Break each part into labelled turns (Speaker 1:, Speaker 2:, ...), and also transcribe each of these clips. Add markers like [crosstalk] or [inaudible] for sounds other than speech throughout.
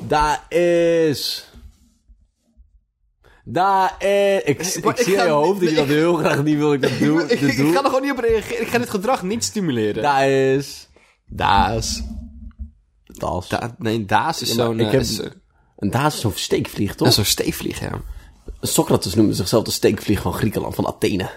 Speaker 1: Daar is. Daar is. Ik, ik,
Speaker 2: maar ik
Speaker 1: zie
Speaker 2: ga-
Speaker 1: aan je hoofd dat je dat
Speaker 2: nee,
Speaker 1: heel graag niet wil. dat Ik dat doe.
Speaker 2: [laughs] ik,
Speaker 1: dit
Speaker 2: ik
Speaker 1: doe.
Speaker 2: ga er gewoon niet op reageren. Ik ga dit gedrag niet stimuleren.
Speaker 1: Daar is.
Speaker 2: daas.
Speaker 1: Tas.
Speaker 2: Da- nee, daas is
Speaker 1: Ja, maar
Speaker 2: zo'n...
Speaker 1: ik
Speaker 2: eh,
Speaker 1: heb-
Speaker 2: is, eh,
Speaker 1: En daar is zo'n steekvlieg,
Speaker 2: dat
Speaker 1: toch?
Speaker 2: is zo'n steefvlieg, ja.
Speaker 1: Socrates noemde zichzelf de steekvlieg van Griekenland, van Athene.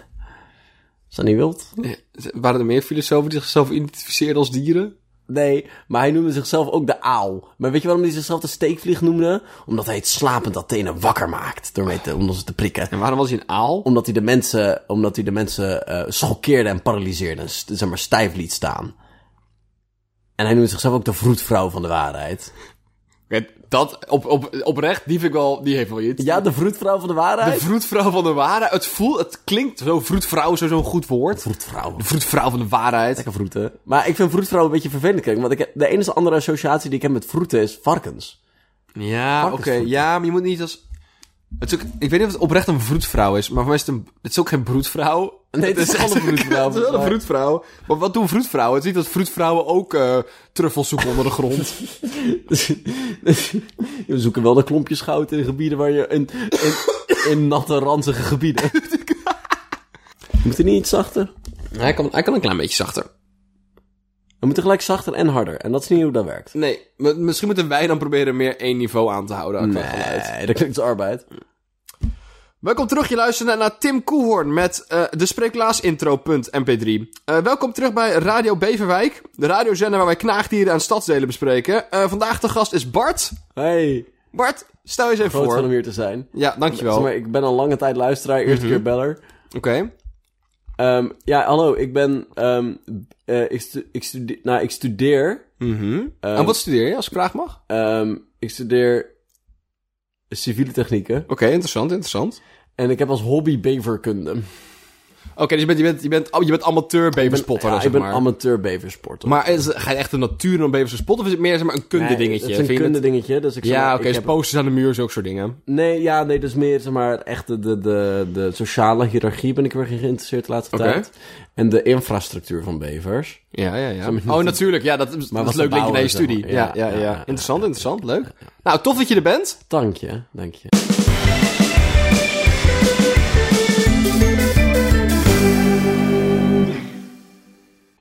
Speaker 1: Is dat niet wild?
Speaker 2: Eh, Waren er meer filosofen die zichzelf identificeerden als dieren?
Speaker 1: Nee, maar hij noemde zichzelf ook de aal. Maar weet je waarom hij zichzelf de steekvlieg noemde? Omdat hij het slapend Athene wakker maakt. Door mee te, om ze te prikken.
Speaker 2: En waarom was hij een aal?
Speaker 1: Omdat hij de mensen, omdat hij de mensen eh, schokkeerde en paralyseerde. En st- zeg maar stijf liet staan. En hij noemde zichzelf ook de vroedvrouw van de waarheid.
Speaker 2: Oké, Dat, op, op, oprecht, die vind ik wel... Die heeft wel iets.
Speaker 1: Ja, de vroedvrouw van de waarheid?
Speaker 2: De vroedvrouw van de waarheid. Het voelt... Het klinkt zo... Vroedvrouw is zo'n goed woord.
Speaker 1: vroedvrouw.
Speaker 2: De vroedvrouw van de waarheid.
Speaker 1: Lekker vroeten. Maar ik vind vroedvrouw een beetje vervelend. klinken, Want ik heb, de enige andere associatie die ik heb met vroeten is varkens.
Speaker 2: Ja, oké.
Speaker 1: Varkensvoeten.
Speaker 2: Ja, maar je moet niet als... Het is ook, ik weet niet of het oprecht een vroedvrouw is, maar voor mij is het, een, het is ook geen broedvrouw.
Speaker 1: Nee, het
Speaker 2: [laughs]
Speaker 1: is wel een vroedvrouw, [laughs]
Speaker 2: het is wel een
Speaker 1: maar-
Speaker 2: vroedvrouw. Maar wat doen vroedvrouwen? Het is niet dat vroedvrouwen ook eh truffels zoeken onder de grond. [laughs]
Speaker 1: [laughs] We zoeken wel de klompjes goud in gebieden waar je... In, in, in natte, ranzige [laughs] gebieden. Moet er niet iets zachter?
Speaker 2: Nou, Hij kan, hij kan een klein beetje zachter.
Speaker 1: We moeten gelijk zachter en harder. En dat is niet hoe dat werkt.
Speaker 2: Nee, mi- misschien moeten wij dan proberen meer één niveau aan te houden. qua geluid.
Speaker 1: Nee, dat klinkt als arbeid.
Speaker 2: Welkom terug, je luistert naar Tim Koehoorn met eh, de Spreeklaas intro.mp3. Eh, welkom terug bij Radio Beverwijk, de radiozender waar wij knaagdieren aan stadsdelen bespreken. Eh, vandaag de gast is Bart.
Speaker 1: Hey,
Speaker 2: Bart, stel je eens even
Speaker 1: groot
Speaker 2: voor.
Speaker 1: van om hier te zijn.
Speaker 2: Ja,
Speaker 1: Zeg
Speaker 2: dankjewel.
Speaker 1: maar,
Speaker 2: Oké.
Speaker 1: ik ben al lange tijd luisteraar, eerste
Speaker 2: Mhm.
Speaker 1: keer beller. Ehm, ja, hallo, ik ben... ehm, eh, ik, stu- ik, studeer, nou, ik studeer...
Speaker 2: Mhm. en wat studeer je, als ik vraag mag? Oké,
Speaker 1: Ehm, ik studeer civiele technieken.
Speaker 2: interessant, interessant.
Speaker 1: En ik heb als hobby beverkunde.
Speaker 2: Oké, dus je bent, je bent, je bent, oh, je bent amateur beverspotter,
Speaker 1: ja,
Speaker 2: zeg
Speaker 1: ik ben
Speaker 2: maar.
Speaker 1: amateur beversporter.
Speaker 2: maar is, ga je echt de natuur om bevers te spotten, of is het meer zeg maar, een kunde dingetje?
Speaker 1: Het is een kunde dingetje, dus ik zeg
Speaker 2: Ja,
Speaker 1: maar,
Speaker 2: oké,
Speaker 1: ik
Speaker 2: dus
Speaker 1: heb-
Speaker 2: posters aan de muur, zulke soort dingen.
Speaker 1: Nee, ja, nee, dus meer zeg maar echt de, de, de, de sociale hiërarchie ben ik weer geïnteresseerd de laatste
Speaker 2: Oké.
Speaker 1: tijd. En de infrastructuur van bevers.
Speaker 2: Ja, ja, ja. Oh, natuurlijk. Ja, dat is, dat
Speaker 1: wat
Speaker 2: is
Speaker 1: ze
Speaker 2: leuk linkje naar
Speaker 1: bouwen, zeg
Speaker 2: je studie.
Speaker 1: maar.
Speaker 2: Ja,
Speaker 1: Ja,
Speaker 2: ja, ja.
Speaker 1: ja, ja.
Speaker 2: Interessant, interessant. Leuk. Nou, tof dat je er bent.
Speaker 1: Dank je, dank je.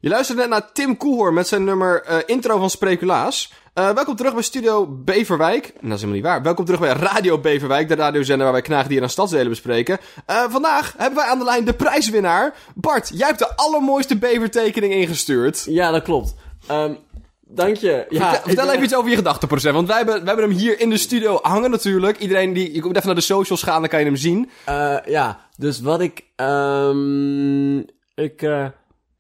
Speaker 2: Je luistert net naar Tim Koehoorn met zijn nummer eh, intro van Spreculaas. Eh, welkom terug bij Studio Beverwijk. Nou, dat is helemaal niet waar. Welkom terug bij Radio Beverwijk, de radiozender waar wij knaagdieren en stadsdelen bespreken. Eh, vandaag hebben wij aan de lijn de prijswinnaar. Bart, jij hebt de allermooiste bevertekening ingestuurd.
Speaker 1: Ja, dat klopt. Ehm, dank je. Ja,
Speaker 2: vertel
Speaker 1: ik
Speaker 2: vertel
Speaker 1: ben-
Speaker 2: even iets over je gedachteproces. Want wij hebben, wij hebben hem hier in de studio hangen natuurlijk. Iedereen die... Je komt even naar de socials gaan, dan kan je hem zien.
Speaker 1: Eh, ja, dus wat ik. ehm,
Speaker 3: Ik, eh,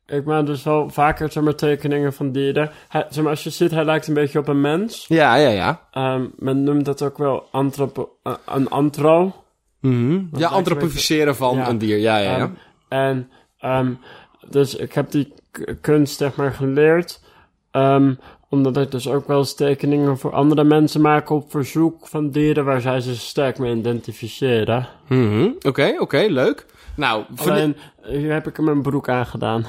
Speaker 3: ik maak dus wel vaker zeg maar, tekeningen van dieren. Hij, zeg maar, als je ziet, hij lijkt een beetje op een mens.
Speaker 2: Ja, ja, ja.
Speaker 3: Ehm, men noemt dat ook wel antropo, eh, een antro.
Speaker 2: Ja, antropificeren van
Speaker 3: Ja.
Speaker 2: een dier. Ja, ja, ja.
Speaker 3: Ehm, En ehm, dus ik heb die k- kunst zeg maar geleerd. ehm, omdat ik dus ook wel eens tekeningen voor andere mensen maak op verzoek van dieren waar zij zich sterk mee identificeren.
Speaker 2: Mhm. Oké, oké, leuk. Nou, van-
Speaker 3: Alleen, hier heb ik hem een broek aangedaan.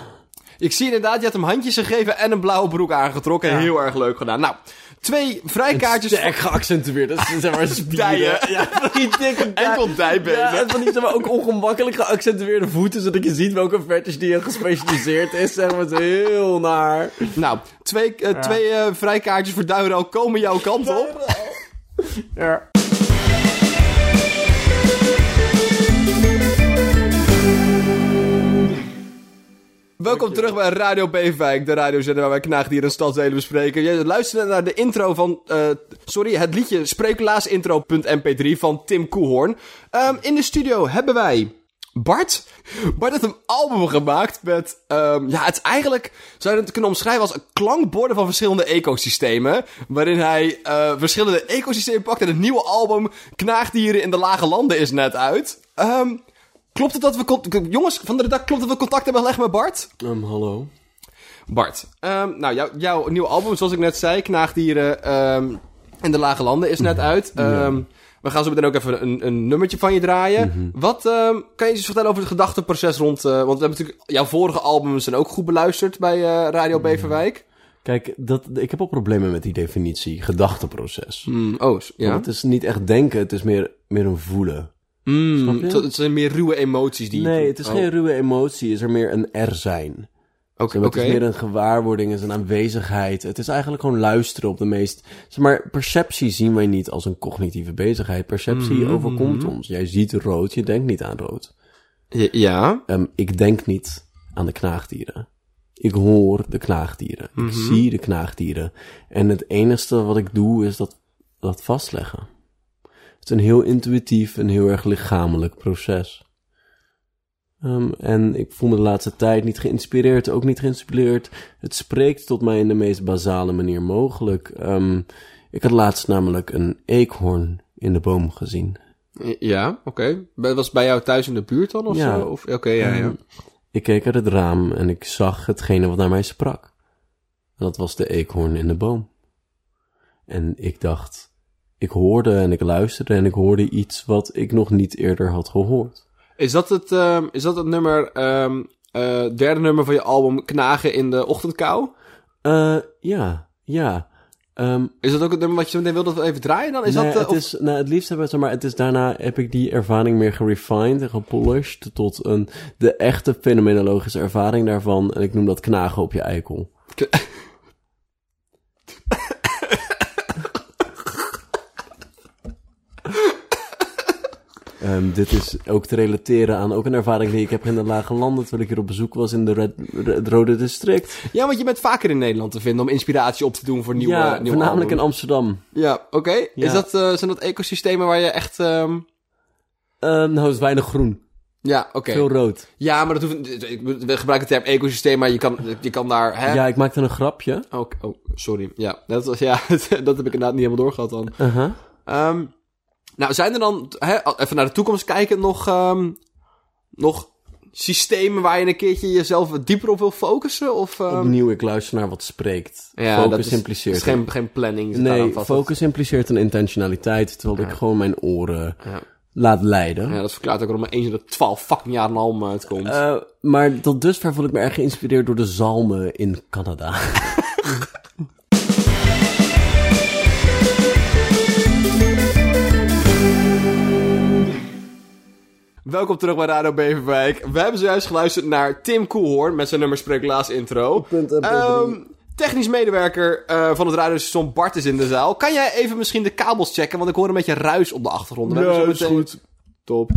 Speaker 2: ik zie inderdaad, je hebt hem handjes gegeven en een blauwe broek aangetrokken. Heel erg leuk gedaan. Nou, twee vrijkaartjes
Speaker 1: Sterk geaccentueerd. Dat is [laughs] zeg maar
Speaker 2: Dijen.
Speaker 1: spieren. Ja, van die dikke dijen.
Speaker 2: Enkel dijbenen.
Speaker 1: Ja, en van die zeg maar, ook ongemakkelijk geaccentueerde voeten. Zodat je ziet welke vertus die gespecialiseerd is. Zeg maar, het is heel naar.
Speaker 2: Nou, twee, eh, twee eh, vrijkaartjes voor Duiro komen jouw kant op.
Speaker 3: Ja.
Speaker 2: Welkom terug bij Radio Beefwijk, de radiozender waar wij knaagdieren en stadsdelen bespreken. Je luistert naar de intro van, eh, sorry, het liedje spreeklaasintro.mp3 van Tim Koehoorn. Ehm, in de studio hebben wij Bart. Bart heeft een album gemaakt met, ehm, ja, het is eigenlijk, zou je het kunnen omschrijven als een klankborden van verschillende ecosystemen. Waarin hij eh, verschillende ecosystemen pakt en het nieuwe album Knaagdieren in de Lage Landen is net uit. Ehm, Klopt het dat we... con- Jongens van de redactie, klopt dat we contact hebben gelegd met Bart?
Speaker 3: Ehm,
Speaker 1: hallo.
Speaker 2: Bart, ehm, nou, jou- jouw nieuwe album, zoals ik net zei, Knaagdieren ehm in de Lage Landen, is net uit. Ehm, We gaan zo meteen ook even een, een nummertje van je draaien.
Speaker 1: Mhm.
Speaker 2: Wat ehm, kan je eens vertellen over het gedachteproces rond... eh, want we hebben natuurlijk... Jouw vorige albums zijn ook goed beluisterd bij eh, Radio Beverwijk.
Speaker 1: Ik Kijk, dat, ik heb al problemen met die definitie, gedachteproces.
Speaker 2: Mm, oh, s- ja.
Speaker 1: Want het is niet echt denken, het is meer, meer een voelen.
Speaker 2: Mm,
Speaker 1: Snap je?
Speaker 2: het- het zijn meer ruwe emoties die je
Speaker 1: Nee,
Speaker 2: voelt.
Speaker 1: het is
Speaker 2: Oh,
Speaker 1: geen ruwe emotie, het is er meer een er zijn.
Speaker 2: Oké,
Speaker 1: Het
Speaker 2: oké.
Speaker 1: is meer een gewaarwording, het is een aanwezigheid. Het is eigenlijk gewoon luisteren op de meest... Zeg maar, perceptie zien wij niet als een cognitieve bezigheid. Perceptie overkomt ons. Jij ziet rood, je denkt niet aan rood.
Speaker 2: Ja, Ja.
Speaker 1: Ehm, ik denk niet aan de knaagdieren. Ik hoor de knaagdieren. Ik zie de knaagdieren. En het enige wat ik doe is dat, dat vastleggen. Het is een heel intuïtief en heel erg lichamelijk proces. Ehm, en ik voel me de laatste tijd niet geïnspireerd, ook niet geïnspireerd. Het spreekt tot mij in de meest basale manier mogelijk. Ehm, ik had laatst namelijk een eekhoorn in de boom gezien.
Speaker 2: Ja, oké. Bij- Was het bij jou thuis in de buurt dan of
Speaker 1: Ja.
Speaker 2: zo? Of- Oké, ja, ja.
Speaker 1: Ehm, Ik keek uit het raam en ik zag hetgene wat naar mij sprak. En dat was de eekhoorn in de boom. En ik dacht, ik hoorde en ik luisterde en ik hoorde iets wat ik nog niet eerder had gehoord.
Speaker 2: Is dat het, ehm, is dat het nummer, ehm, eh, derde nummer van je album Knagen in de Ochtendkou?
Speaker 1: Eh, ja, ja. Ehm,
Speaker 2: Is dat ook het nummer wat je zo meteen wilde dat we even draaien dan? Is
Speaker 1: nee,
Speaker 2: dat, eh,
Speaker 1: het
Speaker 2: of-
Speaker 1: is, nou, het liefst hebben we het, maar het is daarna heb ik die ervaring meer gerefined en gepolished tot een, de echte fenomenologische ervaring daarvan. En ik noem dat knagen op je
Speaker 2: [laughs]
Speaker 1: eikel. Ehm, dit is ook te relateren aan ook een ervaring die ik heb in de Lage Landen, terwijl ik hier op bezoek was in de Red, het Rode District.
Speaker 2: Ja, want je bent vaker in Nederland te vinden om inspiratie op te doen voor nieuwe,
Speaker 1: ja,
Speaker 2: nieuwe
Speaker 1: voornamelijk
Speaker 2: album.
Speaker 1: in Amsterdam.
Speaker 2: Ja, oké. Is
Speaker 1: Ja.
Speaker 2: dat, eh, zijn dat ecosystemen waar je echt... ehm,
Speaker 1: Ehm, nou, het is weinig groen,
Speaker 2: Ja, oké.
Speaker 1: veel rood.
Speaker 2: Ja, maar dat hoeft... Ik gebruik de term ecosysteem, maar je kan, je kan daar... Hè?
Speaker 1: Ja, ik maakte een grapje.
Speaker 2: Ook- Oh, sorry. Ja, dat, was, ja, [laughs] dat heb ik inderdaad niet helemaal doorgehad dan.
Speaker 1: Uh-huh.
Speaker 2: Ehm, nou, zijn er dan, hè, even naar de toekomst kijken, nog, ehm, nog systemen waar je een keertje jezelf wat dieper op wil focussen? Of, ehm,
Speaker 1: Opnieuw, ik luister naar wat spreekt.
Speaker 2: ja,
Speaker 1: focus
Speaker 2: dat is,
Speaker 1: impliceert.
Speaker 2: is geen, geen planning. zit daaraan
Speaker 1: nee,
Speaker 2: vast.
Speaker 1: focus impliceert een intentionaliteit. Terwijl ik gewoon mijn oren
Speaker 2: Ja.
Speaker 1: laat leiden.
Speaker 2: Ja, dat verklaart ook waarom er eens in de twaalf fucking jaar een album uitkomt.
Speaker 1: Eh, maar tot dusver voel ik me erg geïnspireerd door de zalmen in Canada. [laughs]
Speaker 2: Welkom terug bij Radio Beverwijk. We hebben zojuist geluisterd naar Tim Koelhoorn met zijn nummer Spreeklaas intro. Ehm, technisch medewerker eh, van het radiostation Bart is in de zaal. Kan jij even misschien de kabels checken? Want ik hoor een beetje ruis op de achtergrond. We hebben zo meteen-
Speaker 1: Top.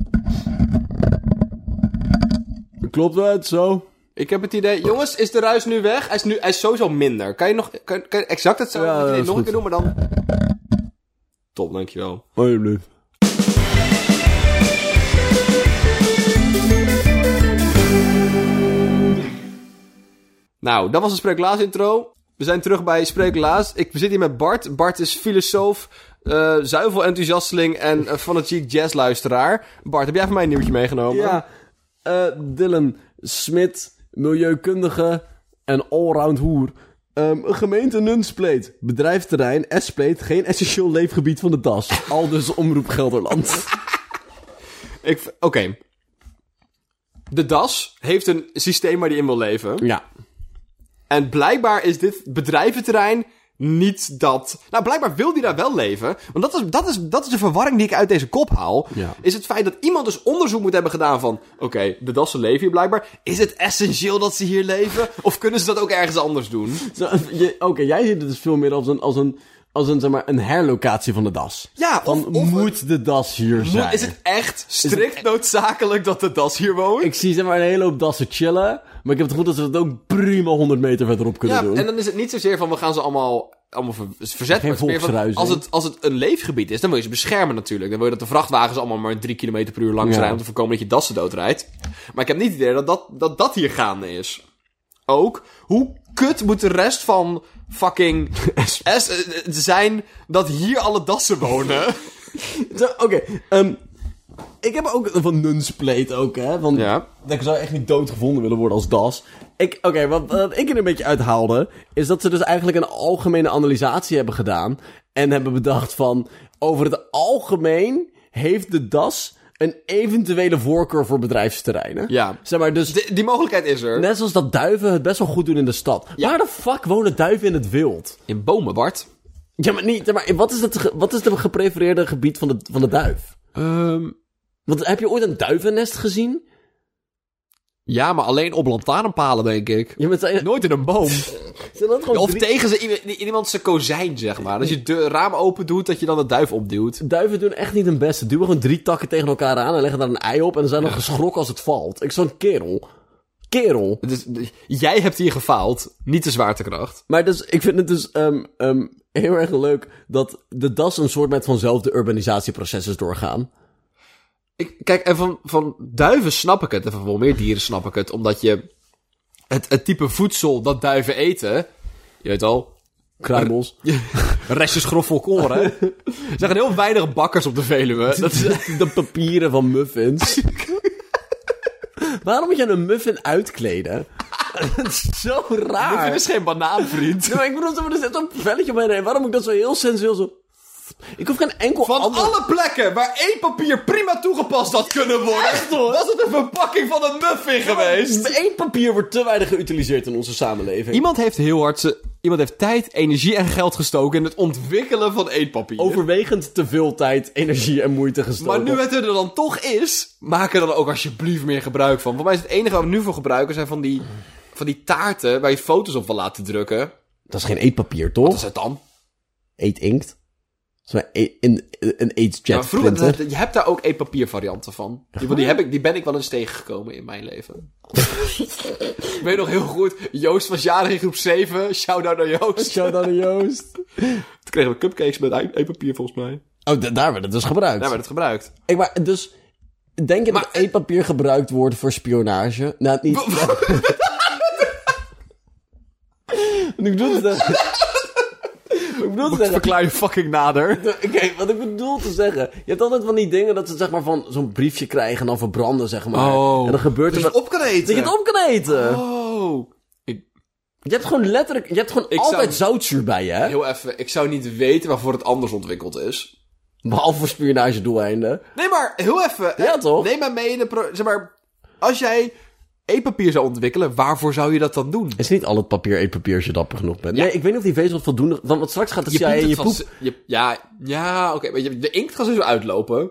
Speaker 1: Klopt het zo?
Speaker 2: Ik heb het idee... Jongens, is de ruis nu weg? Hij is, nu, hij is sowieso minder. Kan je nog kan, kan je exact hetzelfde
Speaker 1: Ja,
Speaker 2: met
Speaker 1: dat
Speaker 2: idee
Speaker 1: is
Speaker 2: nog een
Speaker 1: goed.
Speaker 2: keer doen, maar dan... Top, dankjewel.
Speaker 1: Alsjeblieft.
Speaker 2: Nou, dat was de Spreeklaas intro. We zijn terug bij Spreeklaas. Ik zit hier met Bart. Bart is filosoof, eh zuivel enthousiasteling en eh, fanatiek jazzluisteraar. Bart, heb jij van mij een nieuwtje meegenomen?
Speaker 1: Ja, eh, Dylan Smit, milieukundige en allround hoer. Ehm, gemeente Nunspleet, bedrijfterrein, S-pleet, geen essentieel leefgebied van de DAS. Al dus Omroep Gelderland.
Speaker 2: Ik v- Oké. De DAS heeft een systeem waar die in wil
Speaker 1: [laughs]
Speaker 2: leven.
Speaker 1: ja.
Speaker 2: En blijkbaar is dit bedrijventerrein niet dat. Nou, blijkbaar wil die daar wel leven. Want dat is, dat is, dat is de verwarring die ik uit deze kop haal.
Speaker 1: Ja.
Speaker 2: Is het feit dat iemand dus onderzoek moet hebben gedaan van. Oké, de dassen leven hier blijkbaar. Is het essentieel dat ze hier leven? Of kunnen ze dat ook ergens anders doen?
Speaker 1: Zo, je- Oké, jij ziet het dus veel meer als een, als een, als een, zeg maar, een herlocatie van de DAS.
Speaker 2: Ja,
Speaker 1: Van,
Speaker 2: of- of-
Speaker 1: moet de DAS hier
Speaker 2: Mo-
Speaker 1: zijn? e-
Speaker 2: Is het echt strikt noodzakelijk dat de das hier woont?
Speaker 1: Ik zie zeg maar een hele hoop DAS'en chillen, maar ik heb het goed dat ze dat ook prima 100 meter verderop kunnen
Speaker 2: Ja,
Speaker 1: doen.
Speaker 2: en dan is het niet zozeer van we gaan ze allemaal, allemaal ver- verzetten.
Speaker 1: Geen
Speaker 2: maar het is meer van,
Speaker 1: volksruis,
Speaker 2: als,
Speaker 1: hè?
Speaker 2: het, als het een leefgebied is, dan wil je ze beschermen natuurlijk. Dan wil je dat de vrachtwagens allemaal maar 3 km per uur langs
Speaker 1: Ja.
Speaker 2: rijden om te voorkomen dat je dassen doodrijdt. Maar ik heb niet het idee dat dat, dat dat hier gaande is. Ook, hoe kut moet de rest van fucking [laughs] S eh, zijn dat hier alle dassen [laughs] wonen?
Speaker 1: Zo, Oké, ehm, ik heb ook van Nunspleet ook, hè. Want
Speaker 2: Ja.
Speaker 1: dat ik zou echt niet doodgevonden willen worden als das. Ik, Oké, wat, wat ik er een beetje uithaalde, is dat ze dus eigenlijk een algemene analysatie hebben gedaan. En hebben bedacht van, over het algemeen heeft de das een eventuele voorkeur voor bedrijfsterreinen.
Speaker 2: Ja.
Speaker 1: Zeg maar, dus
Speaker 2: Die, die mogelijkheid is er.
Speaker 1: net zoals dat duiven het best wel goed doen in de stad. Waar de fuck wonen duiven in het wild?
Speaker 2: In bomen, Bart.
Speaker 1: Ja, maar niet. Maar wat is het, ge- wat is het geprefereerde gebied van de, van de duif?
Speaker 2: Ehm,
Speaker 1: Want heb je ooit een duivennest gezien?
Speaker 2: ja, maar alleen op lantaarnpalen, denk ik.
Speaker 1: Je bent, zijn [laughs]
Speaker 2: Nooit in een boom.
Speaker 1: dat gewoon
Speaker 2: Of
Speaker 1: drie-
Speaker 2: tegen ze, iemand- iemand zijn kozijn, zeg maar. Als je de raam open doet, dat je dan de duif opduwt.
Speaker 1: Duiven doen echt niet hun best. Ze duwen gewoon drie takken tegen elkaar aan en leggen daar een ei op. En dan zijn dan geschrokken als het valt. Ik zo'n kerel. Kerel.
Speaker 2: Dus, jij hebt hier gefaald, niet de zwaartekracht.
Speaker 1: Maar dus, ik vind het dus ehm, ehm, heel erg leuk dat de DAS een soort met vanzelfde urbanisatieprocessen doorgaan.
Speaker 2: Ik, kijk, en van, van duiven snap ik het, en van wel meer dieren snap ik het, omdat je het, het type voedsel dat duiven eten, je weet al,
Speaker 1: Kruimels.
Speaker 2: [laughs] restjes grof volkoren. hè? Er zijn gewoon heel weinig bakkers op de [laughs] Veluwe. Dat is,
Speaker 1: De papieren van muffins. [laughs] Waarom moet je een muffin [laughs] uitkleden? dat is zo raar.
Speaker 2: dat is geen banaanvriend.
Speaker 1: Nee, maar ik bedoel, er zit zo'n velletje bij en Waarom moet ik dat zo heel sensueel zo... Ik hoef geen enkel
Speaker 2: Van
Speaker 1: ander...
Speaker 2: alle plekken waar één papier prima toegepast had kunnen worden, was het een verpakking van een muffin geweest.
Speaker 1: Eén papier wordt te weinig geütiliseerd in onze samenleving.
Speaker 2: Iemand heeft heel hard ze- iemand heeft tijd, energie en geld gestoken in het ontwikkelen van eetpapier.
Speaker 1: Overwegend te veel tijd, energie en moeite
Speaker 2: Maar
Speaker 1: gestoken.
Speaker 2: nu het er dan toch is, maak er dan ook alsjeblieft meer gebruik van. Voor mij is het enige waar we nu voor gebruiken zijn van die, van die taarten waar je foto's op wil laten drukken.
Speaker 1: Dat is geen eetpapier,
Speaker 2: Wat
Speaker 1: toch?
Speaker 2: is het dan?
Speaker 1: Eetinkt. Dat is maar e- een, een
Speaker 2: Ja,
Speaker 1: eetjet
Speaker 2: maar vroeger,
Speaker 1: printer.
Speaker 2: je hebt daar ook eetpapiervarianten van. Die, die, heb ik, die ben ik wel eens tegengekomen in mijn leven. ik weet nog heel goed, Joost was jarig in groep 7. Shout-out naar Joost.
Speaker 1: Shout out Joost.
Speaker 2: Toen kregen we cupcakes met ei- eetpapier volgens mij.
Speaker 1: Oh, da- daar werd het dus gebruikt.
Speaker 2: Daar werd het gebruikt.
Speaker 1: Ik, maar, dus, denk je
Speaker 2: Maar-
Speaker 1: dat eetpapier gebruikt wordt voor spionage? Nou, niet...
Speaker 2: [laughs]
Speaker 1: Wat ik [laughs] bedoel te zeggen... Wat ik bedoel te zeggen...
Speaker 2: Verklaar je fucking nader.
Speaker 1: Oké, wat ik bedoel te zeggen... Je hebt altijd van die dingen dat ze zeg maar van zo'n briefje krijgen en dan verbranden, zeg maar. en dan gebeurt er...
Speaker 2: dat je
Speaker 1: wat-
Speaker 2: het Oh. Dus op kan eten.
Speaker 1: Dus Dat je het op kan eten.
Speaker 2: Oh. Ik,
Speaker 1: Je hebt gewoon letterlijk... Je hebt gewoon
Speaker 2: Ik zou-
Speaker 1: altijd zoutzuur bij je, hè?
Speaker 2: heel even, ik zou niet weten waarvoor het anders ontwikkeld is.
Speaker 1: Behalve voor spionagedoeleinden.
Speaker 2: Nee, maar heel even.
Speaker 1: Ja, toch?
Speaker 2: Neem maar mee in de... pro- Zeg maar, als jij e-papier zou ontwikkelen, waarvoor zou je dat dan doen?
Speaker 1: Is niet al het papier eetpapier als je dapper genoeg bent. Nee, ik weet niet of die vezels voldoende... Want want straks gaat het CIA
Speaker 2: piet
Speaker 1: in je
Speaker 2: het
Speaker 1: poep.
Speaker 2: van- je- ja, ja oké. maar je- de inkt gaat sowieso
Speaker 1: [laughs]
Speaker 2: uitlopen.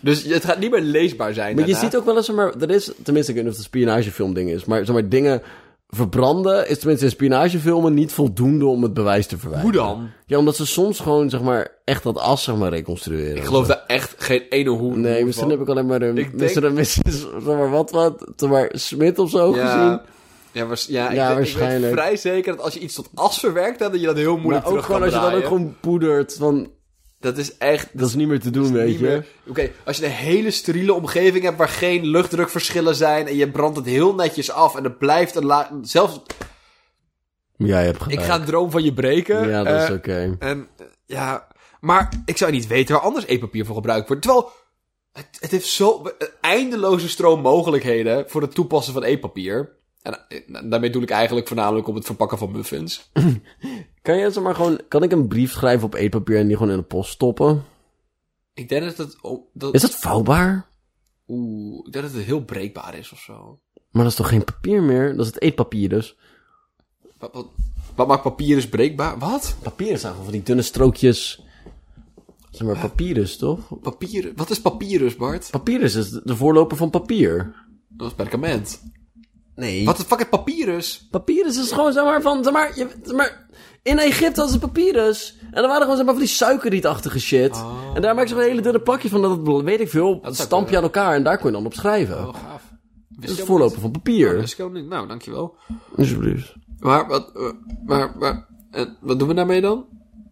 Speaker 2: dus het gaat niet meer leesbaar zijn
Speaker 1: Maar je
Speaker 2: daarna.
Speaker 1: ziet ook wel eens... zeg Maar, er is, tenminste, ik weet niet of het een spionagefilm ding is. Maar, zeg maar dingen verbranden is tenminste in spionagefilmen niet voldoende om het bewijs te verwijderen.
Speaker 2: Hoe dan?
Speaker 1: Ja, omdat ze soms gewoon zeg maar, echt dat as zeg maar, reconstrueren.
Speaker 2: Ik geloof daar echt geen ene hoe.
Speaker 1: Nee,
Speaker 2: hoe
Speaker 1: misschien
Speaker 2: van.
Speaker 1: heb ik alleen maar ehm, een...
Speaker 2: Ik
Speaker 1: Misschien
Speaker 2: denk-
Speaker 1: een [laughs] zeg maar, wat wat... Zeg maar, Smit of zo gezien.
Speaker 2: Ja, ja, waars- ja, ik
Speaker 1: Ja,
Speaker 2: weet- Ik
Speaker 1: waarschijnlijk.
Speaker 2: weet vrij zeker dat als je iets tot as verwerkt hebt, dat je dat heel moeilijk
Speaker 1: Maar ook
Speaker 2: terug kan
Speaker 1: gewoon als je dan ook
Speaker 2: draaien.
Speaker 1: gewoon poedert van...
Speaker 2: Dat is echt...
Speaker 1: Dat is niet meer te doen, weet
Speaker 2: niet
Speaker 1: je.
Speaker 2: meer- Oké, als je een hele steriele omgeving hebt waar geen luchtdrukverschillen zijn en je brandt het heel netjes af en het blijft een la... Zelfs,
Speaker 1: Jij hebt
Speaker 2: ik
Speaker 1: gelijk.
Speaker 2: ga een droom van je breken.
Speaker 1: Ja, dat is
Speaker 2: eh,
Speaker 1: oké.
Speaker 2: En eh, ja, maar ik zou niet weten waar anders e-papier voor gebruikt wordt. Terwijl het, het heeft zo een eindeloze stroom mogelijkheden voor het toepassen van e-papier. En eh, daarmee doe ik eigenlijk voornamelijk op het verpakken van muffins.
Speaker 1: Kan jij zeg maar gewoon, kan ik een brief schrijven op eetpapier en die gewoon in de post stoppen?
Speaker 2: Ik denk dat het, oh, dat,
Speaker 1: Is dat vouwbaar?
Speaker 2: oeh, ik denk dat het heel breekbaar is of zo.
Speaker 1: Maar dat is toch geen papier meer? Dat is het eetpapier dus.
Speaker 2: Wat, wat, wat maakt papier dus breekbaar? Wat?
Speaker 1: Papier is gewoon van die dunne strookjes. Zeg maar papier dus, toch?
Speaker 2: Papier, wat is papyrus, Bart?
Speaker 1: Papier is dus de voorloper van papier.
Speaker 2: Dat is perkament.
Speaker 1: Nee.
Speaker 2: Wat de fuck is papyrus?
Speaker 1: Papier is dus gewoon zeg maar van, zeg maar, je- zeg maar in Egypte hadden ze papyrus. En dan waren gewoon zeg maar van die suikerrietachtige shit. En daar maken ze gewoon hele dunne plakjes van, dat het, weet ik veel, dat
Speaker 2: Oh. zou
Speaker 1: stamp je aan elkaar en daar kon je dan op schrijven.
Speaker 2: Oh, gaaf.
Speaker 1: dat is het
Speaker 2: Wist je ook niet?
Speaker 1: voorloper van papier.
Speaker 2: Wist ik ook niet. Nou, dankjewel.
Speaker 1: Alsjeblieft.
Speaker 2: Maar wat, eh, maar, maar, en wat doen we daarmee dan?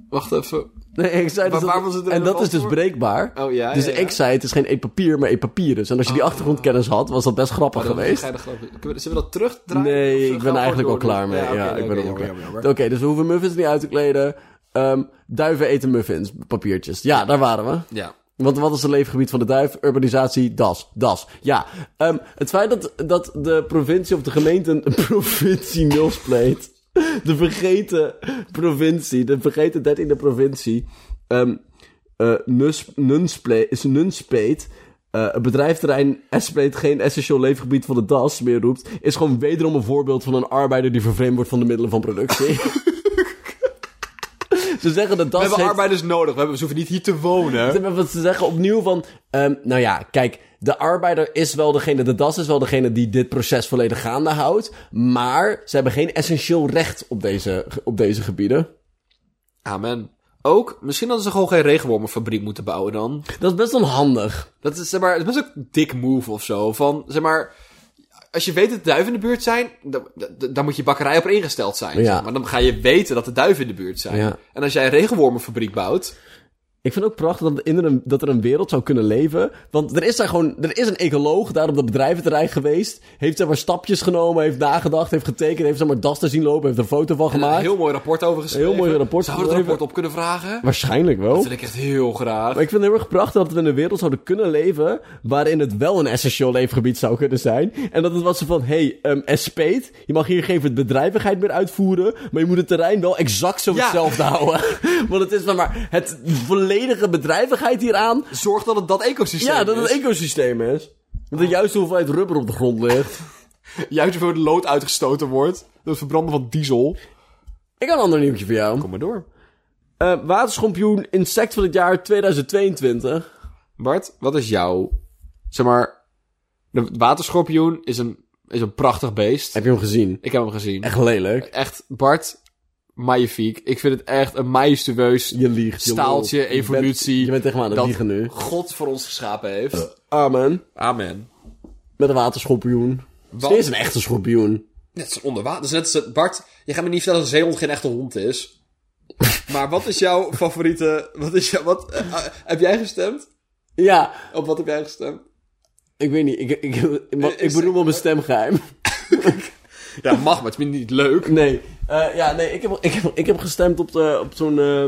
Speaker 2: Wacht even.
Speaker 1: Nee, ik zei
Speaker 2: Maar
Speaker 1: dus
Speaker 2: waar
Speaker 1: dat-
Speaker 2: was het
Speaker 1: En dat
Speaker 2: relevant
Speaker 1: is dus
Speaker 2: voor?
Speaker 1: breekbaar.
Speaker 2: Oh, ja,
Speaker 1: dus
Speaker 2: ja, ja.
Speaker 1: ik zei, het is geen e-papier, maar e-papierus. En als je die achtergrondkennis had, was dat best grappig
Speaker 2: Dan
Speaker 1: geweest.
Speaker 2: ga je er geloof ik- Kunnen we- Zullen we dat terugdraaien? Of
Speaker 1: Nee,
Speaker 2: zullen
Speaker 1: ik
Speaker 2: we
Speaker 1: ben
Speaker 2: gewoon
Speaker 1: eigenlijk al
Speaker 2: door
Speaker 1: klaar
Speaker 2: doen?
Speaker 1: mee. Ja,
Speaker 2: oké,
Speaker 1: ik ben er al
Speaker 2: oké, jammer,
Speaker 1: klaar
Speaker 2: jammer,
Speaker 1: mee.
Speaker 2: jammer.
Speaker 1: Oké, dus we hoeven muffins niet uit te kleden. Ehm, duiven eten muffins, papiertjes. Ja, daar waren we.
Speaker 2: Ja.
Speaker 1: Want wat is het leefgebied van de duif? Urbanisatie, das, das. Ja, ehm, het feit dat, dat de provincie of de gemeente een [laughs] provincie milspleet. De vergeten provincie, de vergeten dertiende provincie. ehm eh nus, nunsple- is nunspeet. eh, het bedrijfterrein SP'd geen essentieel leefgebied van de DAS meer roept, is gewoon wederom een voorbeeld van een arbeider die vervreemd wordt van de middelen van
Speaker 2: [laughs]
Speaker 1: productie. Ze zeggen dat DAS
Speaker 2: We hebben
Speaker 1: heeft-
Speaker 2: arbeiders nodig, we, hebben, ze hoeven niet hier te wonen.
Speaker 1: maar Wat ze zeggen opnieuw van... ehm, nou ja, kijk, de arbeider is wel degene... De DAS is wel degene die dit proces volledig gaande houdt. Maar ze hebben geen essentieel recht op deze, op deze gebieden.
Speaker 2: Amen. Ook, misschien hadden ze gewoon geen regenwormenfabriek moeten bouwen dan.
Speaker 1: Dat is best onhandig.
Speaker 2: Dat is, zeg maar, het is best een dik move of zo. Van, zeg maar, als je weet dat de duiven in de buurt zijn, dan, dan- dan moet je bakkerij op ingesteld zijn.
Speaker 1: Ja.
Speaker 2: zeg maar dan ga je weten dat de duiven in de buurt zijn.
Speaker 1: Ja.
Speaker 2: En als jij een regenwormenfabriek bouwt,
Speaker 1: Ik vind ook prachtig dat, in een, dat er een wereld zou kunnen leven. Want er is daar gewoon... Er is een ecoloog daar op dat bedrijventerrein geweest. Heeft zeg maar stapjes genomen, heeft nagedacht, heeft getekend... Heeft zeg maar DAS te zien lopen, heeft er een foto van
Speaker 2: een
Speaker 1: gemaakt.
Speaker 2: heel mooi rapport over geschreven.
Speaker 1: Heel mooi rapport
Speaker 2: Zouden we het
Speaker 1: geschreven.
Speaker 2: rapport op kunnen vragen?
Speaker 1: Waarschijnlijk wel.
Speaker 2: Dat wil ik echt heel graag.
Speaker 1: Maar ik vind het heel erg prachtig dat we in een wereld zouden kunnen leven. waarin het wel een essentieel leefgebied zou kunnen zijn. En dat het was zo van: hé, hey, espeet, je mag hier geen bedrijvigheid meer uitvoeren. maar je moet het terrein wel exact zo
Speaker 2: Ja.
Speaker 1: hetzelfde [laughs] houden. Want het is dan maar het volledige bedrijvigheid hieraan.
Speaker 2: Zorg dat het dat ecosysteem
Speaker 1: Ja, dat het
Speaker 2: is.
Speaker 1: een ecosysteem is. Dat er juist de hoeveelheid rubber op de grond ligt.
Speaker 2: Juist hoeveel lood uitgestoten wordt. door Het verbranden van diesel.
Speaker 1: Ik heb een ander nieuwtje voor jou.
Speaker 2: Kom maar door.
Speaker 1: Eh waterschorpioen insect van het jaar 2022.
Speaker 2: Bart, wat is jouw... Zeg maar, de waterschorpioen is een, is een prachtig beest.
Speaker 1: Heb je hem gezien?
Speaker 2: Ik heb hem gezien.
Speaker 1: Echt lelijk.
Speaker 2: echt, Bart, magnifiek. Ik vind het echt een majestueus
Speaker 1: Je liegt. je lult.
Speaker 2: staaltje,
Speaker 1: Je bent-
Speaker 2: evolutie.
Speaker 1: Je bent tegen me aan het
Speaker 2: dat
Speaker 1: liegen nu.
Speaker 2: God voor ons geschapen heeft.
Speaker 1: Amen.
Speaker 2: Amen.
Speaker 1: Met een waterschorpioen.
Speaker 2: Wat?
Speaker 1: Ze is een echte schorpioen.
Speaker 2: Net als onderwater. Dat is net als het- Bart, je gaat me niet vertellen dat een zeehond geen echte hond [laughs] is. maar wat is jouw favoriete... Wat is jouw, wat, eh, eh, heb jij gestemd?
Speaker 1: Ja,
Speaker 2: Op wat heb jij gestemd?
Speaker 1: ik weet niet. Ik, ik, ik, maar ik benoem al mijn stemgeheim.
Speaker 2: Ja, mag, maar het is niet leuk.
Speaker 1: Nee. Eh, ja, nee. Ik heb, ik heb, ik heb gestemd op, de, op zo'n... eh,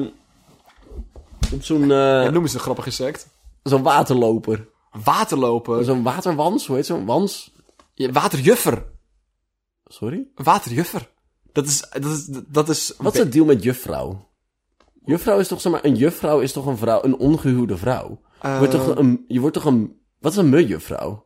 Speaker 1: op zo'n... eh,
Speaker 2: Noem eens een grappig insect.
Speaker 1: zo'n waterloper.
Speaker 2: Waterlopen.
Speaker 1: Zo'n waterwans. Hoe heet zo'n wans?
Speaker 2: Ja, waterjuffer.
Speaker 1: Sorry?
Speaker 2: Waterjuffer. Dat is... Dat is, dat is
Speaker 1: Wat is het deal met juffrouw? Juffrouw is toch, zeg maar... Een juffrouw is toch een vrouw... Een ongehuwde vrouw? Je wordt
Speaker 2: Eh.
Speaker 1: toch een... Je wordt toch een... Wat is een mejuffrouw?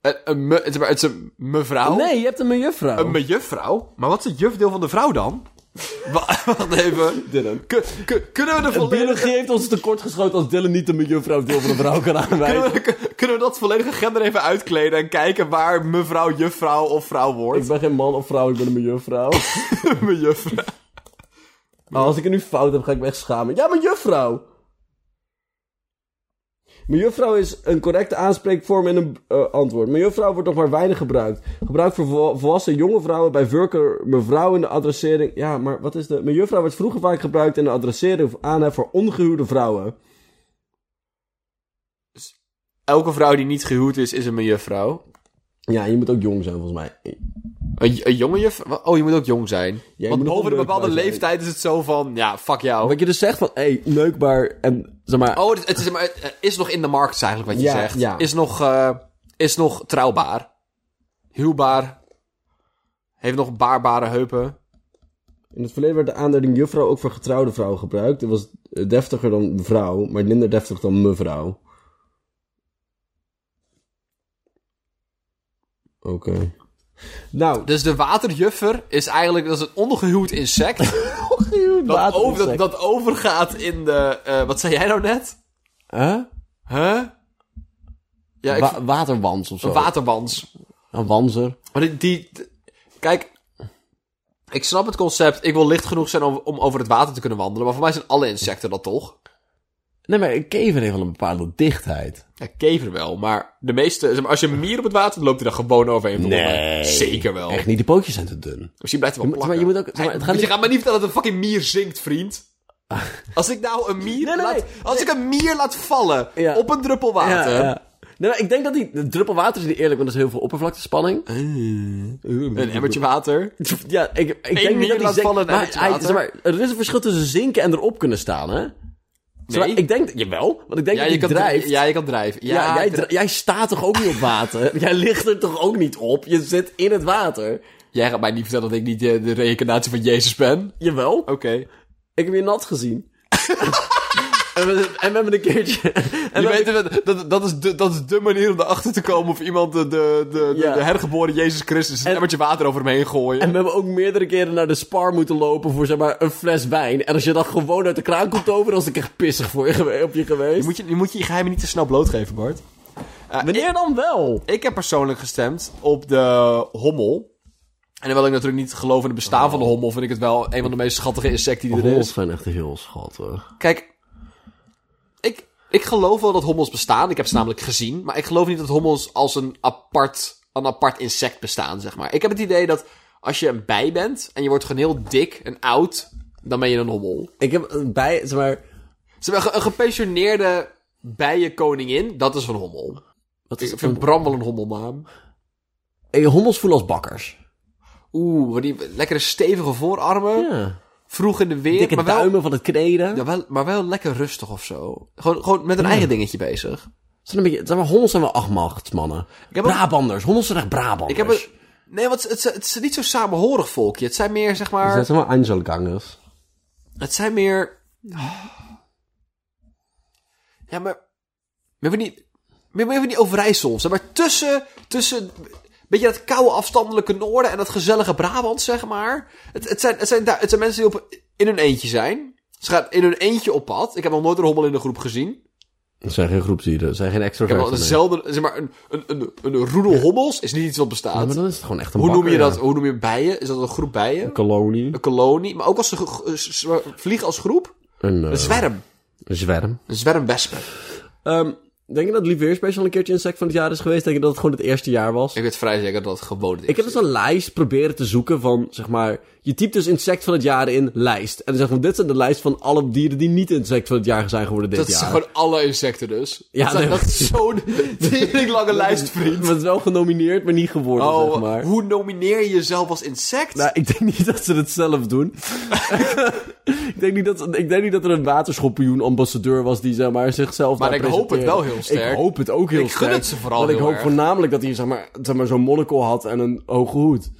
Speaker 2: Een, een me- het is maar- het is een mevrouw.
Speaker 1: Nee, je hebt een mejuffrouw.
Speaker 2: Oh. Een mejuffrouw? Maar wat is het jufdeel van de vrouw dan? [laughs] Wa- Wacht even. Kun- kun- kunnen, we de volledige,
Speaker 1: Biologie heeft ons tekortgeschoten als Dylan niet de mejuffrouw deel van de vrouw kan aanwijzen.
Speaker 2: [laughs] kunnen, we, kun- kunnen we dat volledige gender even uitkleden en kijken waar mevrouw, juffrouw of vrouw
Speaker 1: Ik
Speaker 2: wordt?
Speaker 1: ben geen man of vrouw, ik ben een mejuffrouw.
Speaker 2: [laughs] mejuffrouw.
Speaker 1: Maar als ik het nu fout heb, ga ik me echt schamen. Ja, mejuffrouw! Mejuffrouw is een correcte aanspreekvorm in een eh, antwoord. Mejuffrouw wordt nog maar weinig gebruikt. Gebruikt voor vol- volwassen jonge vrouwen bij voorkeur mevrouw in de adressering. Ja, maar wat is de... Mejuffrouw werd vroeger vaak gebruikt in de adressering of aanhef voor ongehuwde vrouwen.
Speaker 2: Elke vrouw die niet gehuwd is, is een mejuffrouw.
Speaker 1: Ja, je moet ook jong zijn volgens mij.
Speaker 2: Een, j- een jonge juffrouw? Oh, je moet ook jong zijn.
Speaker 1: je
Speaker 2: Want
Speaker 1: moet ook
Speaker 2: boven een
Speaker 1: leuk
Speaker 2: bepaalde
Speaker 1: zijn.
Speaker 2: leeftijd is het zo van, ja, fuck jou.
Speaker 1: Wat je dus zegt van, hé, hey, leuk maar... En, zeg maar...
Speaker 2: Oh, het, het is, maar, het is nog in de markt is eigenlijk wat je
Speaker 1: Ja,
Speaker 2: zegt.
Speaker 1: ja.
Speaker 2: Is, nog, eh, is nog trouwbaar. Huwbaar. Heeft nog baarbare heupen.
Speaker 1: In het verleden werd de aanduiding juffrouw ook voor getrouwde vrouwen gebruikt. Het was eh, deftiger dan mevrouw, maar minder deftig dan mevrouw. Oké. Nou, [laughs]
Speaker 2: Dus de waterjuffer is eigenlijk dat is een ongehuwd insect. dat,
Speaker 1: water
Speaker 2: over, dat, dat overgaat in de. eh, wat zei jij nou net? Huh? Ja, ik vind-
Speaker 1: waterwans of zo.
Speaker 2: een waterwans.
Speaker 1: een wanser.
Speaker 2: Maar die, die- Kijk. Ik snap het concept. Ik wil licht genoeg zijn om, om over het water te kunnen wandelen. Maar voor mij zijn alle insecten dat toch?
Speaker 1: Nee, maar een kever heeft wel een bepaalde dichtheid.
Speaker 2: Ja, kever wel. Maar de meeste. zeg maar, als je een mier op het water loopt, hij er gewoon overheen. volgens mij.
Speaker 1: Nee.
Speaker 2: Zeker wel.
Speaker 1: Echt niet, de pootjes zijn te dun.
Speaker 2: Misschien blijft hij
Speaker 1: Je moet-
Speaker 2: wel
Speaker 1: maar
Speaker 2: plakken.
Speaker 1: je moet ook- zeg maar, het gaat
Speaker 2: je
Speaker 1: niet-
Speaker 2: gaat me niet vertellen dat een fucking mier zingt,
Speaker 1: [laughs]
Speaker 2: vriend. Als ik nou een mier
Speaker 1: nee,
Speaker 2: laat...
Speaker 1: nee.
Speaker 2: Als ik een mier laat vallen
Speaker 1: Ja.
Speaker 2: op een druppel water...
Speaker 1: Nee, maar ik denk dat die de druppel water is niet eerlijk, want dat is heel veel oppervlaktespanning. Eh,
Speaker 2: Een emmertje water.
Speaker 1: [laughs] Ja, ik, ik denk
Speaker 2: mier
Speaker 1: niet dat hij
Speaker 2: laat
Speaker 1: zink-
Speaker 2: vallen en
Speaker 1: maar,
Speaker 2: uit het
Speaker 1: hij-
Speaker 2: water.
Speaker 1: zeg maar, er is een verschil tussen zinken en erop kunnen staan, hè? Zeg maar,
Speaker 2: Nee.
Speaker 1: ik denk, jawel, want ik denk
Speaker 2: Ja,
Speaker 1: dat
Speaker 2: je
Speaker 1: je
Speaker 2: kan
Speaker 1: drijft.
Speaker 2: drijven.
Speaker 1: Ja,
Speaker 2: Ja, je kan drijven. Ja,
Speaker 1: jij,
Speaker 2: dri-
Speaker 1: dri- jij staat toch ook niet op water? [laughs] jij ligt er toch ook niet op? Je zit in het water.
Speaker 2: Jij gaat mij niet vertellen dat ik niet eh, de, de reïncarnatie van Jezus ben.
Speaker 1: Jawel,
Speaker 2: Oké.
Speaker 1: ik heb je nat gezien. [laughs] En we, en we hebben een keertje... [laughs] En
Speaker 2: Je
Speaker 1: we-
Speaker 2: weet het, dat, dat, is de, dat is de manier om erachter te komen of iemand de, de, de, de-
Speaker 1: Ja.
Speaker 2: de hergeboren Jezus Christus een
Speaker 1: En-
Speaker 2: emmertje water over hem heen gooien.
Speaker 1: En we hebben ook meerdere keren naar de spar moeten lopen voor zeg maar een fles wijn. En als je dat gewoon uit de kraan komt over, dan was ik echt pissig voor je, gewe- op je
Speaker 2: je,
Speaker 1: geweest.
Speaker 2: moet je, je moet je geheimen niet te snel blootgeven, Bart. Eh,
Speaker 1: Wanneer dan wel?
Speaker 2: Ik heb persoonlijk gestemd op de hommel. En hoewel ik natuurlijk niet geloof in het bestaan van de hommel, vind ik het wel een van de meest schattige insecten die er
Speaker 1: Hols
Speaker 2: is.
Speaker 1: zijn echt heel schattig.
Speaker 2: Kijk, ik, ik geloof wel dat hommels bestaan. Ik heb ze namelijk gezien. Maar ik geloof niet dat hommels als een apart, een apart insect bestaan, zeg maar. Ik heb het idee dat als je een bij bent en je wordt gewoon heel dik en oud, dan ben je een hommel.
Speaker 1: Ik heb een bij, zeg maar...
Speaker 2: Ze hebben een gepensioneerde bijenkoningin, dat is een hommel.
Speaker 1: Wat is
Speaker 2: Ik
Speaker 1: het
Speaker 2: vind Bram wel een hommelnaam.
Speaker 1: Hey, hommels voelen als bakkers.
Speaker 2: Oeh, wat die lekkere stevige voorarmen.
Speaker 1: Ja.
Speaker 2: vroeg in de weer,
Speaker 1: Dikke
Speaker 2: maar, wel,
Speaker 1: duimen van het kneden.
Speaker 2: ja, wel, maar wel lekker rustig of zo. Gewoon, gewoon met een eigen dingetje bezig.
Speaker 1: Zijn een beetje, zeg maar, hommels zijn wel achtmachtsmannen.
Speaker 2: heb ook-
Speaker 1: Brabanders. Hommels zijn echt Brabanders.
Speaker 2: Ik heb een, nee, want het, is- het is niet zo'n samenhorig volkje. Het zijn meer, zeg
Speaker 1: Ze
Speaker 2: maar...
Speaker 1: zijn wel Angelgangers.
Speaker 2: Het zijn meer... Ja, maar... Meer van die, meer, meer van die Overijssel. Zeg maar tussen... tussen Beetje dat koude afstandelijke noorden en dat gezellige Brabant, zeg maar. Het, het, zijn, het, zijn, daar- het zijn mensen die op, in hun eentje zijn. Ze gaan in hun eentje op pad. Ik heb nog nooit een hommel in de groep gezien.
Speaker 1: Ze zijn geen groepsdieren. Ze zijn geen extra
Speaker 2: Ik heb wel een zelden, zeg maar, een, een, een, een roedel hommels is niet iets wat
Speaker 1: Ja,
Speaker 2: bestaat.
Speaker 1: maar dan is het gewoon echt een
Speaker 2: hoe noem je
Speaker 1: bakker,
Speaker 2: dat?
Speaker 1: ja.
Speaker 2: Hoe noem je bijen? Is dat een groep bijen?
Speaker 1: Een kolonie.
Speaker 2: Een kolonie? Maar ook als ze ge- ge- z- z- vliegen als groep?
Speaker 1: Een, eh,
Speaker 2: Een zwerm.
Speaker 1: een zwerm.
Speaker 2: Een zwermwespen.
Speaker 1: Ehm, denk je dat Liveer Special een keertje insect van het jaar is geweest? Denk je dat het gewoon het eerste jaar was?
Speaker 2: Ik weet vrij zeker dat het gewoon is.
Speaker 1: Ik heb dus een lijst proberen te zoeken van, zeg maar... Je typt dus insect van het jaar in, lijst. En dan zeg je van, dit zijn de lijst van alle dieren die niet insect van het jaar zijn geworden dit
Speaker 2: dat is
Speaker 1: jaar.
Speaker 2: gewoon alle insecten dus.
Speaker 1: Ja,
Speaker 2: dat, zijn-
Speaker 1: nee.
Speaker 2: dat is zo'n [laughs] tering
Speaker 1: [laughs]
Speaker 2: lange lijst, vriend.
Speaker 1: Maar het is wel genomineerd, maar niet geworden,
Speaker 2: Oh,
Speaker 1: zeg maar.
Speaker 2: hoe nomineer je jezelf als insect?
Speaker 1: Nou, ik denk niet dat ze het zelf
Speaker 2: [laughs]
Speaker 1: doen. ik, denk niet dat, ze- ik denk niet dat er een waterschorpioen-ambassadeur was die zeg maar, zichzelf
Speaker 2: Maar
Speaker 1: daar
Speaker 2: ik hoop het
Speaker 1: presenteerde.
Speaker 2: wel heel sterk.
Speaker 1: Ik hoop het ook heel
Speaker 2: Ik
Speaker 1: sterk.
Speaker 2: gun het ze vooral
Speaker 1: Want ik
Speaker 2: heel
Speaker 1: hoop
Speaker 2: erg.
Speaker 1: voornamelijk dat hij zeg maar, zeg maar, zo'n monocle had en een hoge
Speaker 2: [laughs]
Speaker 1: hoed.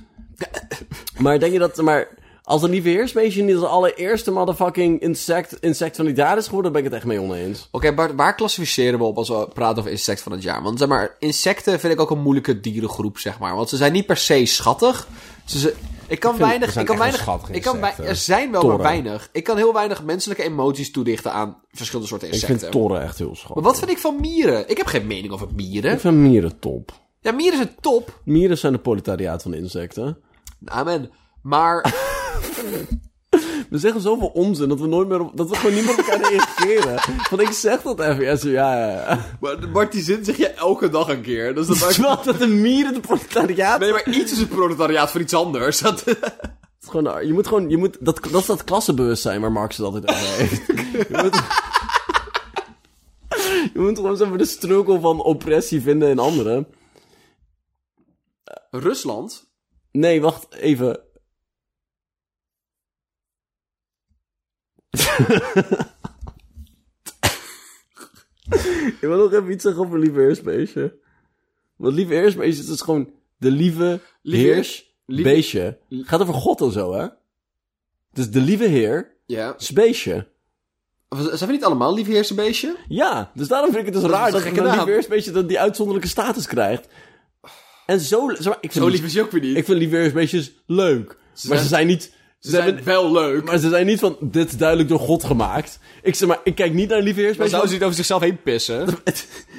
Speaker 1: maar denk je dat... Maar, als een lieve heersbeestje niet als allereerste motherfucking insect, insect van het jaar is geworden, ben ik het echt mee oneens.
Speaker 2: Oké, Bart, waar klassificeren we op als we praten over insect van het jaar? Want zeg maar, insecten vind ik ook een moeilijke dierengroep, zeg maar. Want ze zijn niet per se schattig. Ze, ze- ik kan weinig.
Speaker 4: zijn
Speaker 2: Ik kan
Speaker 4: echt wel
Speaker 2: weinig.
Speaker 4: schattige
Speaker 2: Ik kan wei-
Speaker 4: insecten.
Speaker 2: er zijn wel maar
Speaker 1: Torren.
Speaker 2: weinig. Ik kan heel weinig menselijke emoties toedichten aan verschillende soorten
Speaker 1: Ik
Speaker 2: insecten.
Speaker 1: vind torren echt heel schattig.
Speaker 2: maar wat vind ik van mieren? Ik heb geen mening over
Speaker 1: Ik
Speaker 2: mieren.
Speaker 1: vind mieren top.
Speaker 2: Ja, mieren zijn top.
Speaker 1: Mieren zijn de proletariaat van de insecten.
Speaker 2: Amen. Maar [laughs]
Speaker 1: We zeggen zoveel onzin dat we nooit meer op, dat we gewoon niet meer op elkaar reageren. Want ik zeg dat even. Ja, zo, ja, ja.
Speaker 2: Bart, die zin zeg je elke dag een keer. Dus
Speaker 1: [laughs]
Speaker 2: dat [laughs]
Speaker 1: Wat dat de mieren de proletariaat.
Speaker 2: Nee, maar iets is een proletariaat voor iets anders. Dat,
Speaker 1: Het is gewoon, eh, je moet gewoon, je moet, dat, dat is dat klassenbewustzijn waar Marx het altijd over heeft. Je moet, [laughs] je moet gewoon eens even de struggle van oppressie vinden in anderen.
Speaker 2: [laughs] Rusland
Speaker 1: Nee, wacht even. ik wil nog even iets zeggen over Lieve Heersbeestje. Want Lieve Heersbeestje is dus gewoon de lieve,
Speaker 2: Lieve- lieve-
Speaker 1: heersbeestje. Het gaat over God en zo, hè? Dus de lieve heer,
Speaker 2: Ja.
Speaker 1: speesje.
Speaker 2: Zijn we niet allemaal liefheersenbeestje?
Speaker 1: Ja, dus daarom vind ik het dus raar
Speaker 2: een
Speaker 1: dat
Speaker 2: gekke
Speaker 1: een
Speaker 2: naam.
Speaker 1: lieve heersbeestje dat die uitzonderlijke status krijgt. En zo... Zeg maar, ik vind,
Speaker 2: Zo lief is je ook weer niet.
Speaker 1: Ik vind lieve heersbeestjes leuk. maar
Speaker 2: zijn-
Speaker 1: ze zijn niet... Ze,
Speaker 2: Ze
Speaker 1: hebben-
Speaker 2: zijn wel leuk.
Speaker 1: Maar ze zijn niet van, dit is duidelijk door God gemaakt. Ik zeg maar, ik kijk niet naar lieve
Speaker 2: Dan
Speaker 1: heersbeestjes.
Speaker 2: zou ze niet over zichzelf heen pissen.
Speaker 1: [laughs]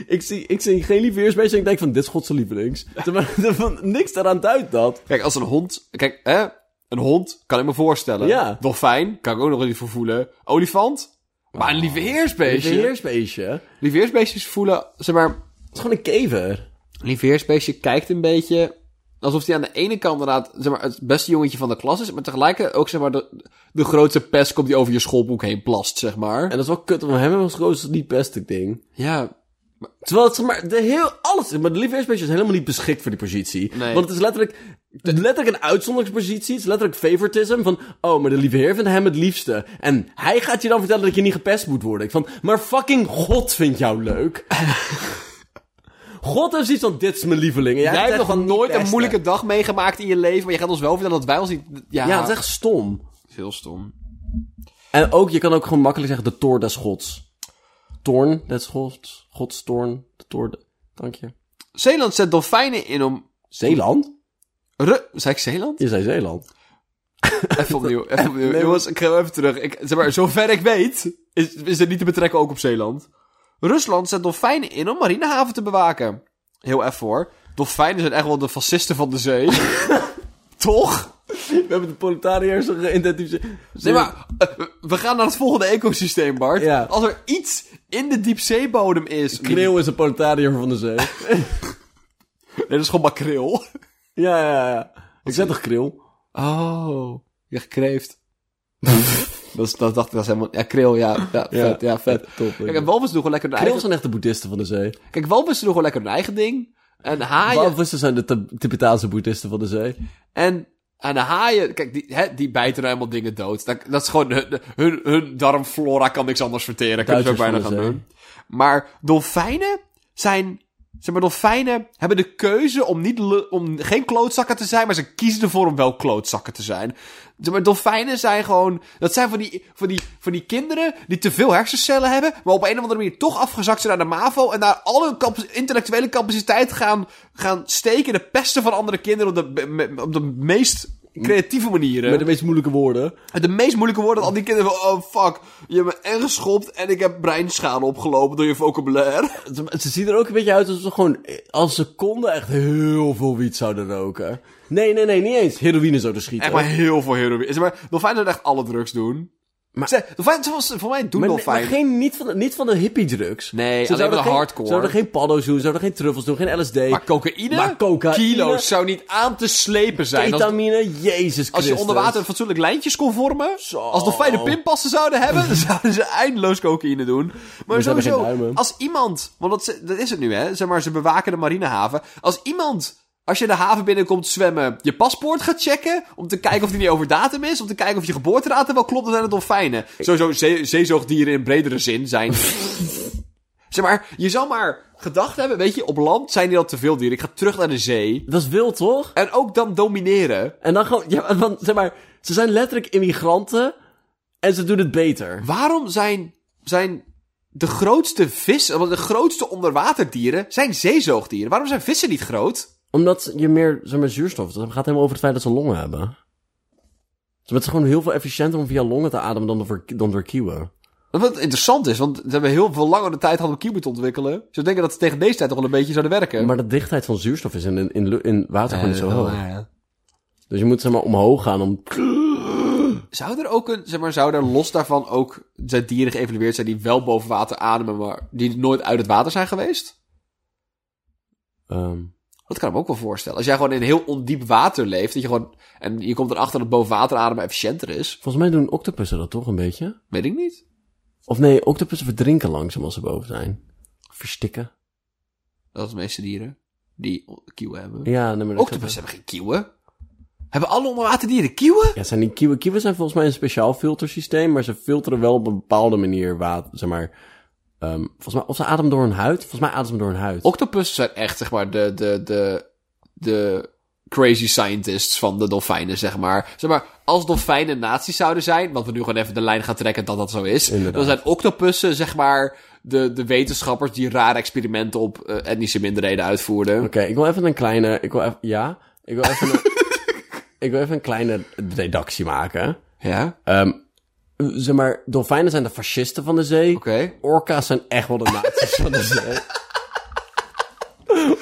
Speaker 1: ik, zie, ik zie geen lieve heersbeestjes en ik denk van, dit is Godse
Speaker 2: [laughs]
Speaker 1: lievelings. Zeg maar, van, niks daaraan duidt dat.
Speaker 2: [laughs] Kijk, als een hond... Kijk, hè? Een hond kan ik me voorstellen.
Speaker 1: Ja.
Speaker 2: Dolfijn kan ik ook nog niet voor voelen. Olifant? Maar een
Speaker 1: Lieve
Speaker 2: lieveheersbeestje?
Speaker 1: heersbeestje. Het
Speaker 2: Lieveheersbeestjes voelen... Zeg maar,
Speaker 1: is gewoon een kever.
Speaker 2: lieveheersbeestje kijkt een beetje... Alsof hij aan de ene kant inderdaad zeg maar, het beste jongetje van de klas is... maar tegelijkertijd ook zeg maar, de, de grootste pest komt die over je schoolboek heen plast, zeg maar.
Speaker 1: En dat is wel kut, want hem was grootste die pestig ding.
Speaker 2: Ja,
Speaker 1: Terwijl het, zeg maar, de heel, alles, maar de lieve heersbeestje is helemaal niet beschikt voor die positie.
Speaker 2: Nee.
Speaker 1: Want het is letterlijk, letterlijk een uitzonderingspositie. Het is letterlijk favoritism van, oh, maar de lieve heer vindt hem het liefste. En hij gaat je dan vertellen dat je niet gepest moet worden. Ik van, maar fucking God vindt jou leuk. [laughs] God heeft iets van, dit is mijn lieveling. En jij,
Speaker 2: Jij hebt nog
Speaker 1: echt niet
Speaker 2: nooit een
Speaker 1: pesten.
Speaker 2: moeilijke dag meegemaakt in je leven, maar je gaat ons wel vertellen dat wij ons niet... Ja,
Speaker 1: Ja, het is echt stom.
Speaker 2: heel stom.
Speaker 1: En ook, je kan ook gewoon makkelijk zeggen, de toor des gods. Torn, dat is gods, gods torn. De toorn, dank je.
Speaker 2: Zeeland zet dolfijnen in om...
Speaker 1: Zeeland?
Speaker 2: Ru Zeg ik Zeeland?
Speaker 1: Je zei Zeeland.
Speaker 2: Even opnieuw, even opnieuw. Jongens, ik ga even terug. Ik, zeg maar, zover ik weet, is, is het niet te betrekken ook op Zeeland. Rusland zet dolfijnen in om marinehaven te bewaken. Heel even hoor. Dolfijnen zijn echt wel de fascisten van de zee. Toch?
Speaker 1: We hebben de proletariërs geïdentificeerd.
Speaker 2: Nee, maar eh, we gaan naar het volgende ecosysteem, Bart.
Speaker 1: Ja.
Speaker 2: Als er iets in de diepzeebodem is...
Speaker 1: Kreeuw is een proletariër van de zee.
Speaker 2: Nee, dat is gewoon makreel.
Speaker 1: ja, ja, ja. Ik zeg toch kril?
Speaker 2: Oh, je [laughs] gekreeft. dat, is- dat dacht ik, dat is helemaal... Ja, kreel, ja. Ja, vet, ja, vet.
Speaker 1: Top.
Speaker 2: Kijk, en walvissen doen gewoon lekker hun
Speaker 1: Kril
Speaker 2: eigen...
Speaker 1: zijn echt de boeddhisten van de zee.
Speaker 2: Kijk, walvissen doen gewoon lekker hun eigen ding. En haaien...
Speaker 1: Walvissen zijn de Tib- Tibetaanse boeddhisten van de zee.
Speaker 2: En, en de haaien... Kijk, die, hè, die bijten nou helemaal dingen dood. Dat, dat is gewoon... Hun, hun, hun darmflora kan niks anders verteren. Kunnen ze ook
Speaker 1: Duitsers
Speaker 2: bijna
Speaker 1: van de zee.
Speaker 2: gaan doen. Maar dolfijnen zijn... Zeg maar, dolfijnen hebben de keuze om, niet lu- om geen klootzakken te zijn, maar ze kiezen ervoor om wel klootzakken te zijn. Zeg maar, dolfijnen zijn gewoon... Dat zijn van die, van, die, van die kinderen die te veel hersencellen hebben, maar op een of andere manier toch afgezakt zijn naar de MAVO en daar al hun cap- intellectuele capaciteit gaan, gaan steken in de pesten van andere kinderen op de, me- op de meest creatieve manieren.
Speaker 1: Met de meest moeilijke woorden.
Speaker 2: De meest moeilijke woorden dat al die kinderen van... Oh, fuck. Je hebt me en geschopt en ik heb breinschade opgelopen door je vocabulaire.
Speaker 1: Ze, ze zien er ook een beetje uit alsof ze gewoon, eh, als ze konden, echt heel veel wiet zouden roken. Nee, nee, nee, niet eens. Heroïne zouden schieten.
Speaker 2: Echt maar heel veel heroïne. Zeg maar, dolfijnen zouden echt alle drugs doen. Maar, Zij, dolfijnen, zoals- voor mij doen
Speaker 1: Maar, nee, maar
Speaker 2: dolfijnen...
Speaker 1: geen, niet, van, de- niet van de hippie drugs.
Speaker 2: Nee, alleen
Speaker 1: zouden
Speaker 2: maar de
Speaker 1: geen-
Speaker 2: hardcore.
Speaker 1: Ze zouden geen paddo's doen, ze zouden geen truffels doen, geen LSD.
Speaker 2: maar cocaïne?
Speaker 1: Maar cocaïne?
Speaker 2: Kilo's zou niet aan te slepen zijn. Als,
Speaker 1: ketamine, jezus Christus.
Speaker 2: als je onder water een fatsoenlijk lijntjes kon vormen... Als dolfijnen pinpassen zouden hebben... [laughs] dan zouden ze eindeloos cocaïne doen. Maar
Speaker 1: hebben geen
Speaker 2: sowieso,
Speaker 1: duimen.
Speaker 2: als iemand... Want dat, ze- dat is het nu, hè. Zeg maar, ze bewaken de marinehaven. Als iemand... Als je de haven binnenkomt zwemmen, je paspoort gaat checken. Om te kijken of die niet over datum is. Om te kijken of je geboortedatum wel klopt. Dan zijn het dolfijnen. Sowieso zee- zeezoogdieren in bredere
Speaker 1: [laughs]
Speaker 2: zin zijn. zeg maar, je zou maar gedacht hebben. Weet je, op land zijn hier al te veel dieren. Ik ga terug naar de zee.
Speaker 1: Dat is wild, toch?
Speaker 2: En ook dan domineren.
Speaker 1: En dan gewoon, ja, want, zeg maar, ze zijn letterlijk immigranten en ze doen het beter.
Speaker 2: Waarom zijn, zijn de grootste vissen, want de grootste onderwaterdieren zijn zeezoogdieren? Waarom zijn vissen niet groot?
Speaker 1: Omdat je meer, zeg maar, zuurstof... Het gaat helemaal over het feit dat ze longen hebben. Dus het is gewoon heel veel efficiënter om via longen te ademen dan door, dan door kieuwen.
Speaker 2: Wat interessant is, want ze hebben heel veel langer de tijd hadden om kieuwen te ontwikkelen. Ze denken dat ze tegen deze tijd toch wel een beetje zouden werken. Eh, oh,
Speaker 1: Maar de dichtheid van zuurstof is in, in, in, lu- in water gewoon niet zo hoog.
Speaker 2: Ja.
Speaker 1: Dus je moet, zeg maar, omhoog gaan om...
Speaker 2: Zou er ook een, zeg maar, zou er los daarvan ook zijn dieren geëvalueerd zijn die wel boven water ademen, maar die nooit uit het water zijn geweest?
Speaker 1: Ehm,
Speaker 2: Dat kan ik me ook wel voorstellen. Als jij gewoon in heel ondiep water leeft, dat je gewoon, en je komt erachter dat boven water ademen efficiënter is,
Speaker 1: volgens mij doen octopussen dat toch een beetje?
Speaker 2: weet ik niet.
Speaker 1: Of nee, octopussen verdrinken langzaam als ze boven zijn. Verstikken.
Speaker 2: Dat is de meeste dieren die kieuwen hebben.
Speaker 1: Ja, nee, maar dat
Speaker 2: Octopus hebben geen kieuwen. Hebben alle onderwaterdieren kieuwen?
Speaker 1: Ja, zijn die kieuwen... Kieuwen zijn volgens mij een speciaal filtersysteem, maar ze filteren wel op een bepaalde manier water, zeg maar... ehm, volgens mij, of ze ademen door hun huid? Volgens mij ademen ze door hun huid.
Speaker 2: Octopussen zijn echt, zeg maar, de, de, de, de crazy scientists van de dolfijnen, zeg maar. Zeg maar, als dolfijnen nazi's zouden zijn, want we nu gewoon even de lijn gaan trekken dat dat zo is,
Speaker 1: Inderdaad.
Speaker 2: dan zijn octopussen, zeg maar, de, de wetenschappers die rare experimenten op eh, etnische minderheden uitvoerden.
Speaker 1: Oké, ik wil even een kleine. Ik wil even, ja, ik wil even. Een, ik wil even een kleine redactie maken.
Speaker 2: Ja?
Speaker 1: Ehm, zeg maar, dolfijnen zijn de fascisten van de zee.
Speaker 2: Oké.
Speaker 1: Orka's zijn echt wel de nazi's van de
Speaker 2: [laughs]
Speaker 1: zee.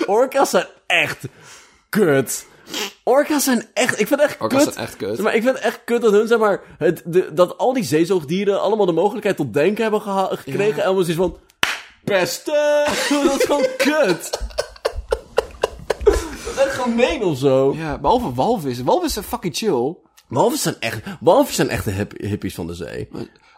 Speaker 1: Orka's zijn echt kut. Orka's zijn echt. Ik vind het echt
Speaker 2: Orka's
Speaker 1: kut.
Speaker 2: zijn echt kut.
Speaker 1: Zeg maar, ik vind het echt kut dat hun, zeg maar. Het, de, dat al die zeezoogdieren allemaal de mogelijkheid tot denken hebben geha- gekregen. En allemaal zoiets van. Pesten! [laughs] dat is gewoon kut. Dat is echt gemeen of zo.
Speaker 2: Ja, behalve walvissen. Walvissen zijn fucking chill.
Speaker 1: Walvissen zijn echt, walvissen zijn echt de hip- hippies van de zee.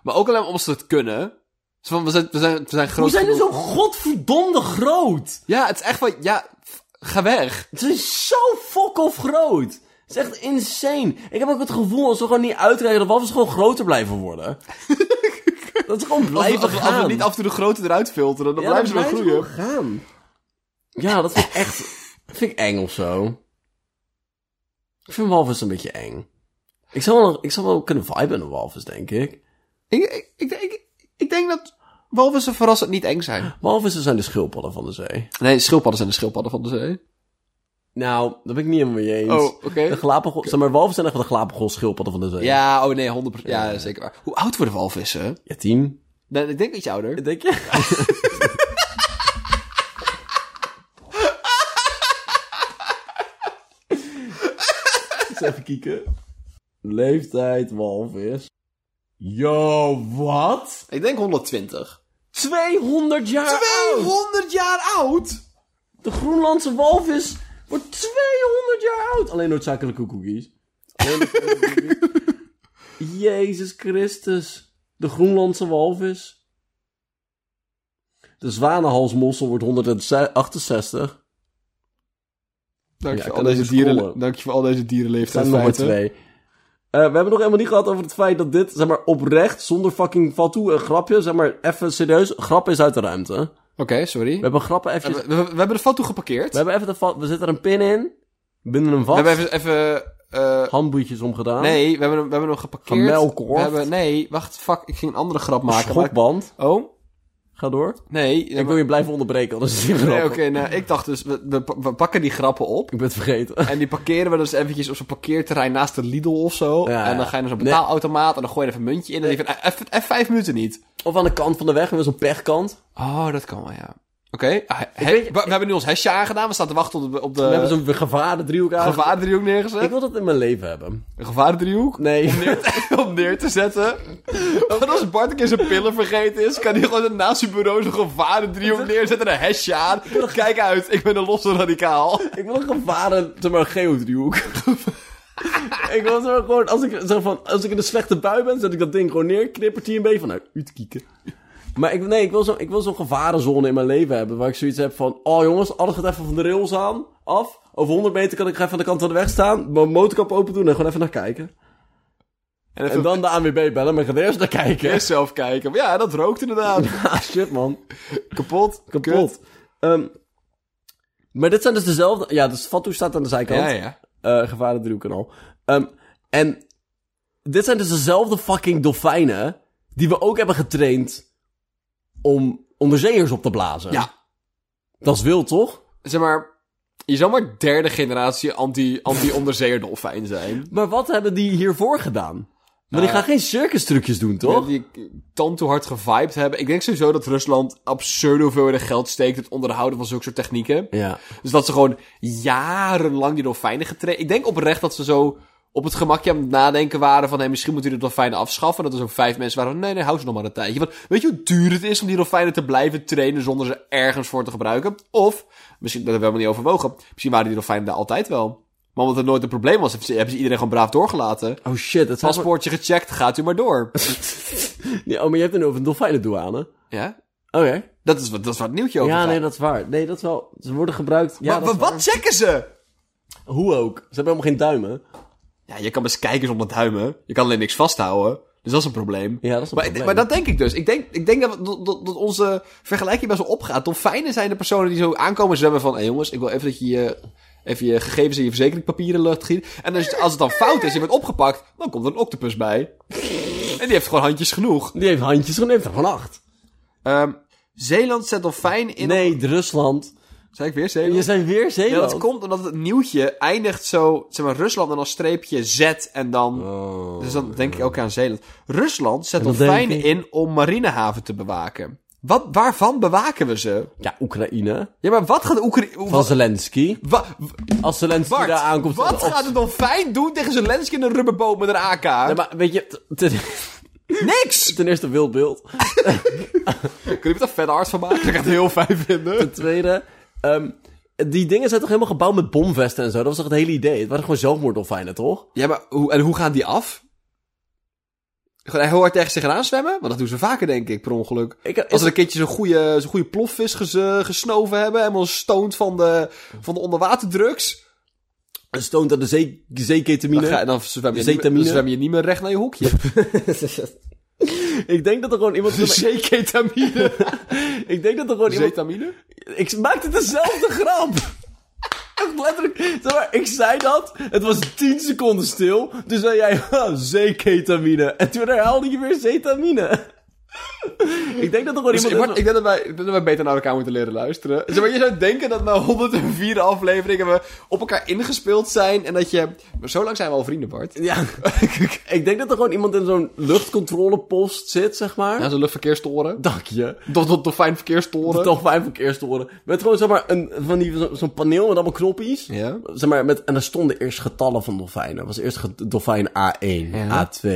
Speaker 2: Maar ook alleen maar omdat ze het kunnen. Zo van, we zijn, we zijn, we zijn groot
Speaker 1: Hoe zijn ze
Speaker 2: genoeg.
Speaker 1: zo godverdomde groot?
Speaker 2: Ja, het is echt van, ja, f- ga weg.
Speaker 1: Ze zijn zo fuck-off groot. Het is echt insane. Ik heb ook het gevoel als we gewoon niet uitrijden, dat walvissen gewoon groter blijven
Speaker 2: [laughs]
Speaker 1: worden. dat ze gewoon
Speaker 2: Als we,
Speaker 1: blijven
Speaker 2: als we- als we
Speaker 1: gaan.
Speaker 2: niet af en toe de grote eruit filteren, dan
Speaker 1: Ja,
Speaker 2: blijven ze
Speaker 1: dat
Speaker 2: wel groeien.
Speaker 1: gewoon gaan. Ja, dat vind ik echt... dat vind ik eng of zo. Ik vind walvis een beetje eng. Ik zou wel, ik zou wel kunnen viben in een walvis, denk ik.
Speaker 2: Ik, ik, ik, denk- ik, ik denk dat Walvissen verrassend niet eng zijn.
Speaker 1: Walvissen zijn de schildpadden van de zee.
Speaker 2: Nee, schildpadden zijn de schildpadden van de zee.
Speaker 1: Nou, dat ben ik niet helemaal mee eens.
Speaker 2: Oh, oké.
Speaker 1: De Galapagos, zeg maar walvissen zijn echt wel de Galapagos schildpadden van de zee.
Speaker 2: Ja, oh nee, 100%. Ja, zeker waar. Hoe oud worden walvissen?
Speaker 1: Ja, tien.
Speaker 2: Nee, ik denk iets ouder.
Speaker 1: Denk je?
Speaker 4: Eens even kijken. [laughs] Leeftijd walvis. Yo, wat?
Speaker 2: Ik denk 120.
Speaker 4: 200 jaar oud!
Speaker 2: 200 jaar oud?
Speaker 4: De Groenlandse walvis wordt 200 jaar oud! Alleen noodzakelijke koekoekies. Alleen noodzakelijke
Speaker 1: [laughs]
Speaker 4: koekoekies. Jezus Christus. De Groenlandse walvis.
Speaker 1: De zwanenhalsmossel wordt 168.
Speaker 2: Dank
Speaker 1: Ja,
Speaker 2: je
Speaker 1: ik
Speaker 2: voor
Speaker 1: kan
Speaker 2: al deze
Speaker 1: even scrollen.
Speaker 2: dieren. Dank je voor al deze
Speaker 1: Er
Speaker 2: dierenleeftijd.
Speaker 1: zijn nog maar twee. Eh, we hebben nog helemaal niet gehad over het feit dat dit, zeg maar, oprecht, zonder fucking fatu, een grapje, zeg maar, even serieus, grap is uit de ruimte. We
Speaker 2: Oké, sorry. We,
Speaker 1: hebben grappen even, we
Speaker 2: we- we hebben de foto geparkeerd. We
Speaker 1: hebben even de va- we zitten er een pin in, binden hem vast,
Speaker 2: hebben even... even eh,
Speaker 1: handboeitjes omgedaan,
Speaker 2: nee, we hebben, hem- we hebben hem geparkeerd.
Speaker 1: Gemelkorfd.
Speaker 2: We hebben, nee, wacht, fuck. Ik ging een andere grap
Speaker 1: een
Speaker 2: maken. maar-
Speaker 1: schokband,
Speaker 2: Oh,
Speaker 1: ga door.
Speaker 2: nee.
Speaker 1: Ik wil je blijven onderbreken, anders is het
Speaker 2: Nee,
Speaker 1: grap.
Speaker 2: oké, nou, ik dacht dus, we, we, we pakken die grappen op.
Speaker 1: Ik ben het vergeten.
Speaker 2: En die parkeren we dus eventjes op zo'n parkeerterrein naast de Lidl of zo.
Speaker 1: Ja,
Speaker 2: en
Speaker 1: ja.
Speaker 2: dan ga je naar zo'n
Speaker 1: Nee.
Speaker 2: betaalautomaat en dan gooi je even een muntje in. En die van, even, even vijf minuten niet.
Speaker 1: Of aan de kant van de weg, met zo'n pechkant.
Speaker 2: Oh, dat kan wel, ja. Oké, ah, he- we, we hebben nu ons hesje aangedaan. We staan te wachten op de, op
Speaker 1: We hebben
Speaker 2: de
Speaker 1: zo'n gevaarde driehoek aan.
Speaker 2: gevaardriehoek neergezet.
Speaker 1: Ik wil dat in mijn leven hebben.
Speaker 2: Een gevaardriehoek
Speaker 1: Nee.
Speaker 2: om neer te [laughs] zetten. Want als Bart een keer zijn pillen vergeten is, kan hij gewoon naast zijn bureau zo'n gevaardriehoek neerzetten en een hesje aan. Kijk uit, ik ben een losse radicaal.
Speaker 1: Ik wil een gevaren, zeg maar, geodriehoek. ik wil zeg maar, gewoon, als ik, zeg van, als ik in een slechte bui ben, zet ik dat ding gewoon neer, knippert hij een beetje van, nou, uitkieken. Maar ik, nee, ik wil zo'n ik wil zo'n gevarenzone in mijn leven hebben, waar ik zoiets heb van, oh jongens, alles gaat even van de rails aan, af. Over 100 meter kan ik even aan de kant van de weg staan, mijn motorkap open doen en gewoon even naar kijken.
Speaker 2: En
Speaker 1: En
Speaker 2: even
Speaker 1: dan de ANWB bellen, maar ik ga er eerst naar kijken.
Speaker 2: eerst zelf kijken. Maar ja, dat rookt inderdaad.
Speaker 1: Ah, shit man.
Speaker 2: Kapot.
Speaker 1: Kapot. Ehm, maar dit zijn dus dezelfde... Ja, dus Fatou staat aan de zijkant.
Speaker 2: Ja, ja.
Speaker 1: eh gevaren driehoeken al. Ehm, en dit zijn dus dezelfde fucking dolfijnen die we ook hebben getraind om onderzeeërs op te blazen.
Speaker 2: Ja.
Speaker 1: Dat is wild, toch?
Speaker 2: Zeg maar, je zou maar derde generatie anti- anti-onderzeeër dolfijn zijn.
Speaker 1: Maar wat hebben die hiervoor gedaan? Maar die gaan geen circus trucjes doen, toch?
Speaker 2: Eh, Die tand toe hard gevibed hebben. Ik denk sowieso dat Rusland absurd hoeveelheden geld steekt... in het onderhouden van zulke soort technieken.
Speaker 1: Ja.
Speaker 2: Dus dat ze gewoon jarenlang die dolfijnen getraind... Ik denk oprecht dat ze zo op het gemakje aan het nadenken waren van... Hey, misschien moeten we de dolfijnen afschaffen. Dat er zo'n vijf mensen waren van... Nee, nee, hou ze nog maar een tijdje. Want weet je hoe duur het is om die dolfijnen te blijven trainen... zonder ze ergens voor te gebruiken? Of, misschien dat hebben we helemaal niet overwogen... misschien waren die dolfijnen daar altijd wel. Maar omdat het nooit een probleem was... hebben ze hebben ze iedereen gewoon braaf doorgelaten.
Speaker 1: Oh shit, dat zijn... [laughs] gewoon-
Speaker 2: Paspoortje gecheckt, gaat u maar
Speaker 1: [laughs]
Speaker 2: door.
Speaker 1: Ja, oh, maar je hebt het nu over een dolfijnendouane. Oké.
Speaker 2: ja? Dat is wat, dat is wat het nieuwtje over
Speaker 1: Ja,
Speaker 2: gaat.
Speaker 1: nee, dat is waar. Nee, dat is wel... Ze worden gebruikt... Ja,
Speaker 2: Maar
Speaker 1: dat is
Speaker 2: wat
Speaker 1: waar.
Speaker 2: checken ze?
Speaker 1: Hoe ook. Ze hebben helemaal geen duimen.
Speaker 2: Ja, je kan best kijken zonder duimen. Je kan alleen niks vasthouden. Dus dat is een probleem.
Speaker 1: Ja, dat is een
Speaker 2: maar,
Speaker 1: probleem.
Speaker 2: Maar dat denk ik dus. Ik denk, ik denk dat, dat, dat onze vergelijking best wel opgaat. Dolfijnen zijn de personen die zo aankomen zwemmen van... Hé jongens, ik wil even dat je je, even je gegevens en je verzekeringpapieren lucht giet. En als het, als het dan fout is, je wordt opgepakt, dan komt er een octopus bij. En die heeft gewoon handjes genoeg.
Speaker 1: Die heeft handjes, gewoon heeft er van acht.
Speaker 2: Ehm, Zeeland zet dolfijn in...
Speaker 1: Nee, Rusland.
Speaker 2: Zei ik weer Zeeland?
Speaker 1: Je zijn weer
Speaker 2: Ja,
Speaker 1: Zeeland.
Speaker 2: dat komt omdat het nieuwtje eindigt zo, zeg maar, Rusland en dan streepje Z en dan... dus dan denk ik ook aan Zeeland. Rusland zet
Speaker 1: dan denk
Speaker 2: dolfijnen
Speaker 1: ik-
Speaker 2: in om marinehaven te bewaken. Wat, waarvan bewaken we ze?
Speaker 1: Ja, Oekraïne.
Speaker 2: Ja, maar wat gaat Oekraïne...
Speaker 1: Van
Speaker 2: Wat,
Speaker 1: Zelensky.
Speaker 2: wa- wa-
Speaker 1: Als Zelensky
Speaker 2: Bart,
Speaker 1: daar aankomt...
Speaker 2: wat
Speaker 1: op-
Speaker 2: gaat een dolfijn doen tegen Zelensky in een rubberboot met een AK?
Speaker 1: Nee, maar weet je... t- Ten, [laughs]
Speaker 2: Niks!
Speaker 1: ten eerste wild beeld.
Speaker 2: Kun je het een vet hard van maken? Ik ga [laughs] het heel fijn vinden.
Speaker 1: Ten tweede... ehm, die dingen zijn toch helemaal gebouwd met bomvesten en zo? Dat was toch het hele idee? Het waren gewoon zelfmoorddolfijnen, toch?
Speaker 2: Ja, maar hoe, en hoe gaan die af? Gewoon heel hard tegen zich aan zwemmen? Want dat doen ze vaker, denk ik, per ongeluk.
Speaker 1: Ik,
Speaker 2: Als ze een keertje zo'n goede, zo'n goede plofvis ges- eh, gesnoven hebben, helemaal stoned van de, van de onderwaterdrugs.
Speaker 1: een stoont aan de zee,
Speaker 2: Dan, ga,
Speaker 1: zeeketamine.
Speaker 2: dan, zwem je niet,
Speaker 1: Zeetamine.
Speaker 2: dan zwem je niet meer recht naar je [laughs] hokje.
Speaker 1: ik denk dat er gewoon
Speaker 2: [laughs]
Speaker 1: iemand...
Speaker 2: Dus Zeeketamine. [laughs]
Speaker 1: ik denk dat er gewoon iemand...
Speaker 2: Zeetamine?
Speaker 1: Ik maakte dezelfde [laughs] grap. Echt letterlijk. Zeg maar, ik zei dat. Het was 10 seconden stil. Toen zei jij, ha, zeeketamine. En toen herhaalde je weer zetamine. Ik denk dat er gewoon
Speaker 2: Dus,
Speaker 1: iemand
Speaker 2: Bart,
Speaker 1: is-
Speaker 2: ik denk dat wij, dat wij beter naar elkaar moeten leren luisteren. Zeg maar, je zou denken dat na 104 afleveringen we op elkaar ingespeeld zijn en dat je... Maar zo lang zijn we al vrienden, Bart.
Speaker 1: Ja, [laughs] ik denk dat er gewoon iemand in zo'n luchtcontrolepost zit, zeg maar.
Speaker 2: Ja, zo'n luchtverkeerstoren.
Speaker 1: Dank je.
Speaker 2: Tot, tot, tot fijn verkeerstoren.
Speaker 1: Toch fijn verkeerstoren. Met gewoon, zeg maar, een, van die, zo- zo'n paneel met allemaal knoppies.
Speaker 2: Ja.
Speaker 1: Zeg maar, met, en daar stonden eerst getallen van dolfijnen. Er was eerst ge- dolfijn A1, A2.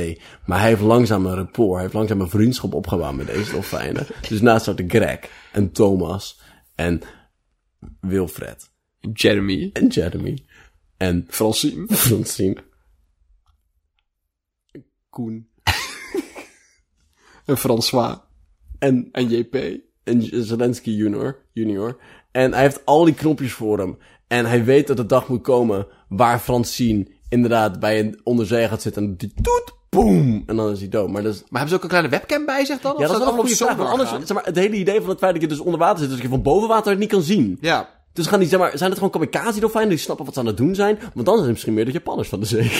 Speaker 1: Maar hij heeft langzaam een rapport. Hij heeft langzaam een vriendschap opgebouwd met deze dolfijnen. dus naast zat de Greg en Thomas en Wilfred
Speaker 2: Jeremy.
Speaker 1: en Jeremy en
Speaker 2: Francine.
Speaker 1: [laughs] Francine.
Speaker 2: Koen. en François.
Speaker 1: En
Speaker 2: En JP.
Speaker 1: een Zelensky junior, junior. En hij heeft al die knopjes voor hem. En hij weet dat de dag moet komen waar Francine inderdaad bij een onderzee gaat zitten. En die toet, boem! En dan is hij dood. Maar dat is...
Speaker 2: Maar hebben ze ook een kleine webcam bij zich dan? Of
Speaker 1: Ja, dat
Speaker 2: zou
Speaker 1: is
Speaker 2: het
Speaker 1: wel een goede vraag.
Speaker 2: allemaal zo
Speaker 1: Want anders,
Speaker 2: doorgaan?
Speaker 1: zeg maar, het hele idee van het feit dat je dus onder water zit, dus dat je van boven water het niet kan zien.
Speaker 2: Ja.
Speaker 1: Dus gaan die, zeg maar, zijn het gewoon kamikaze-dolfijnen die snappen wat ze aan het doen zijn? Want dan zijn het misschien meer de Japanners van de zee. [laughs]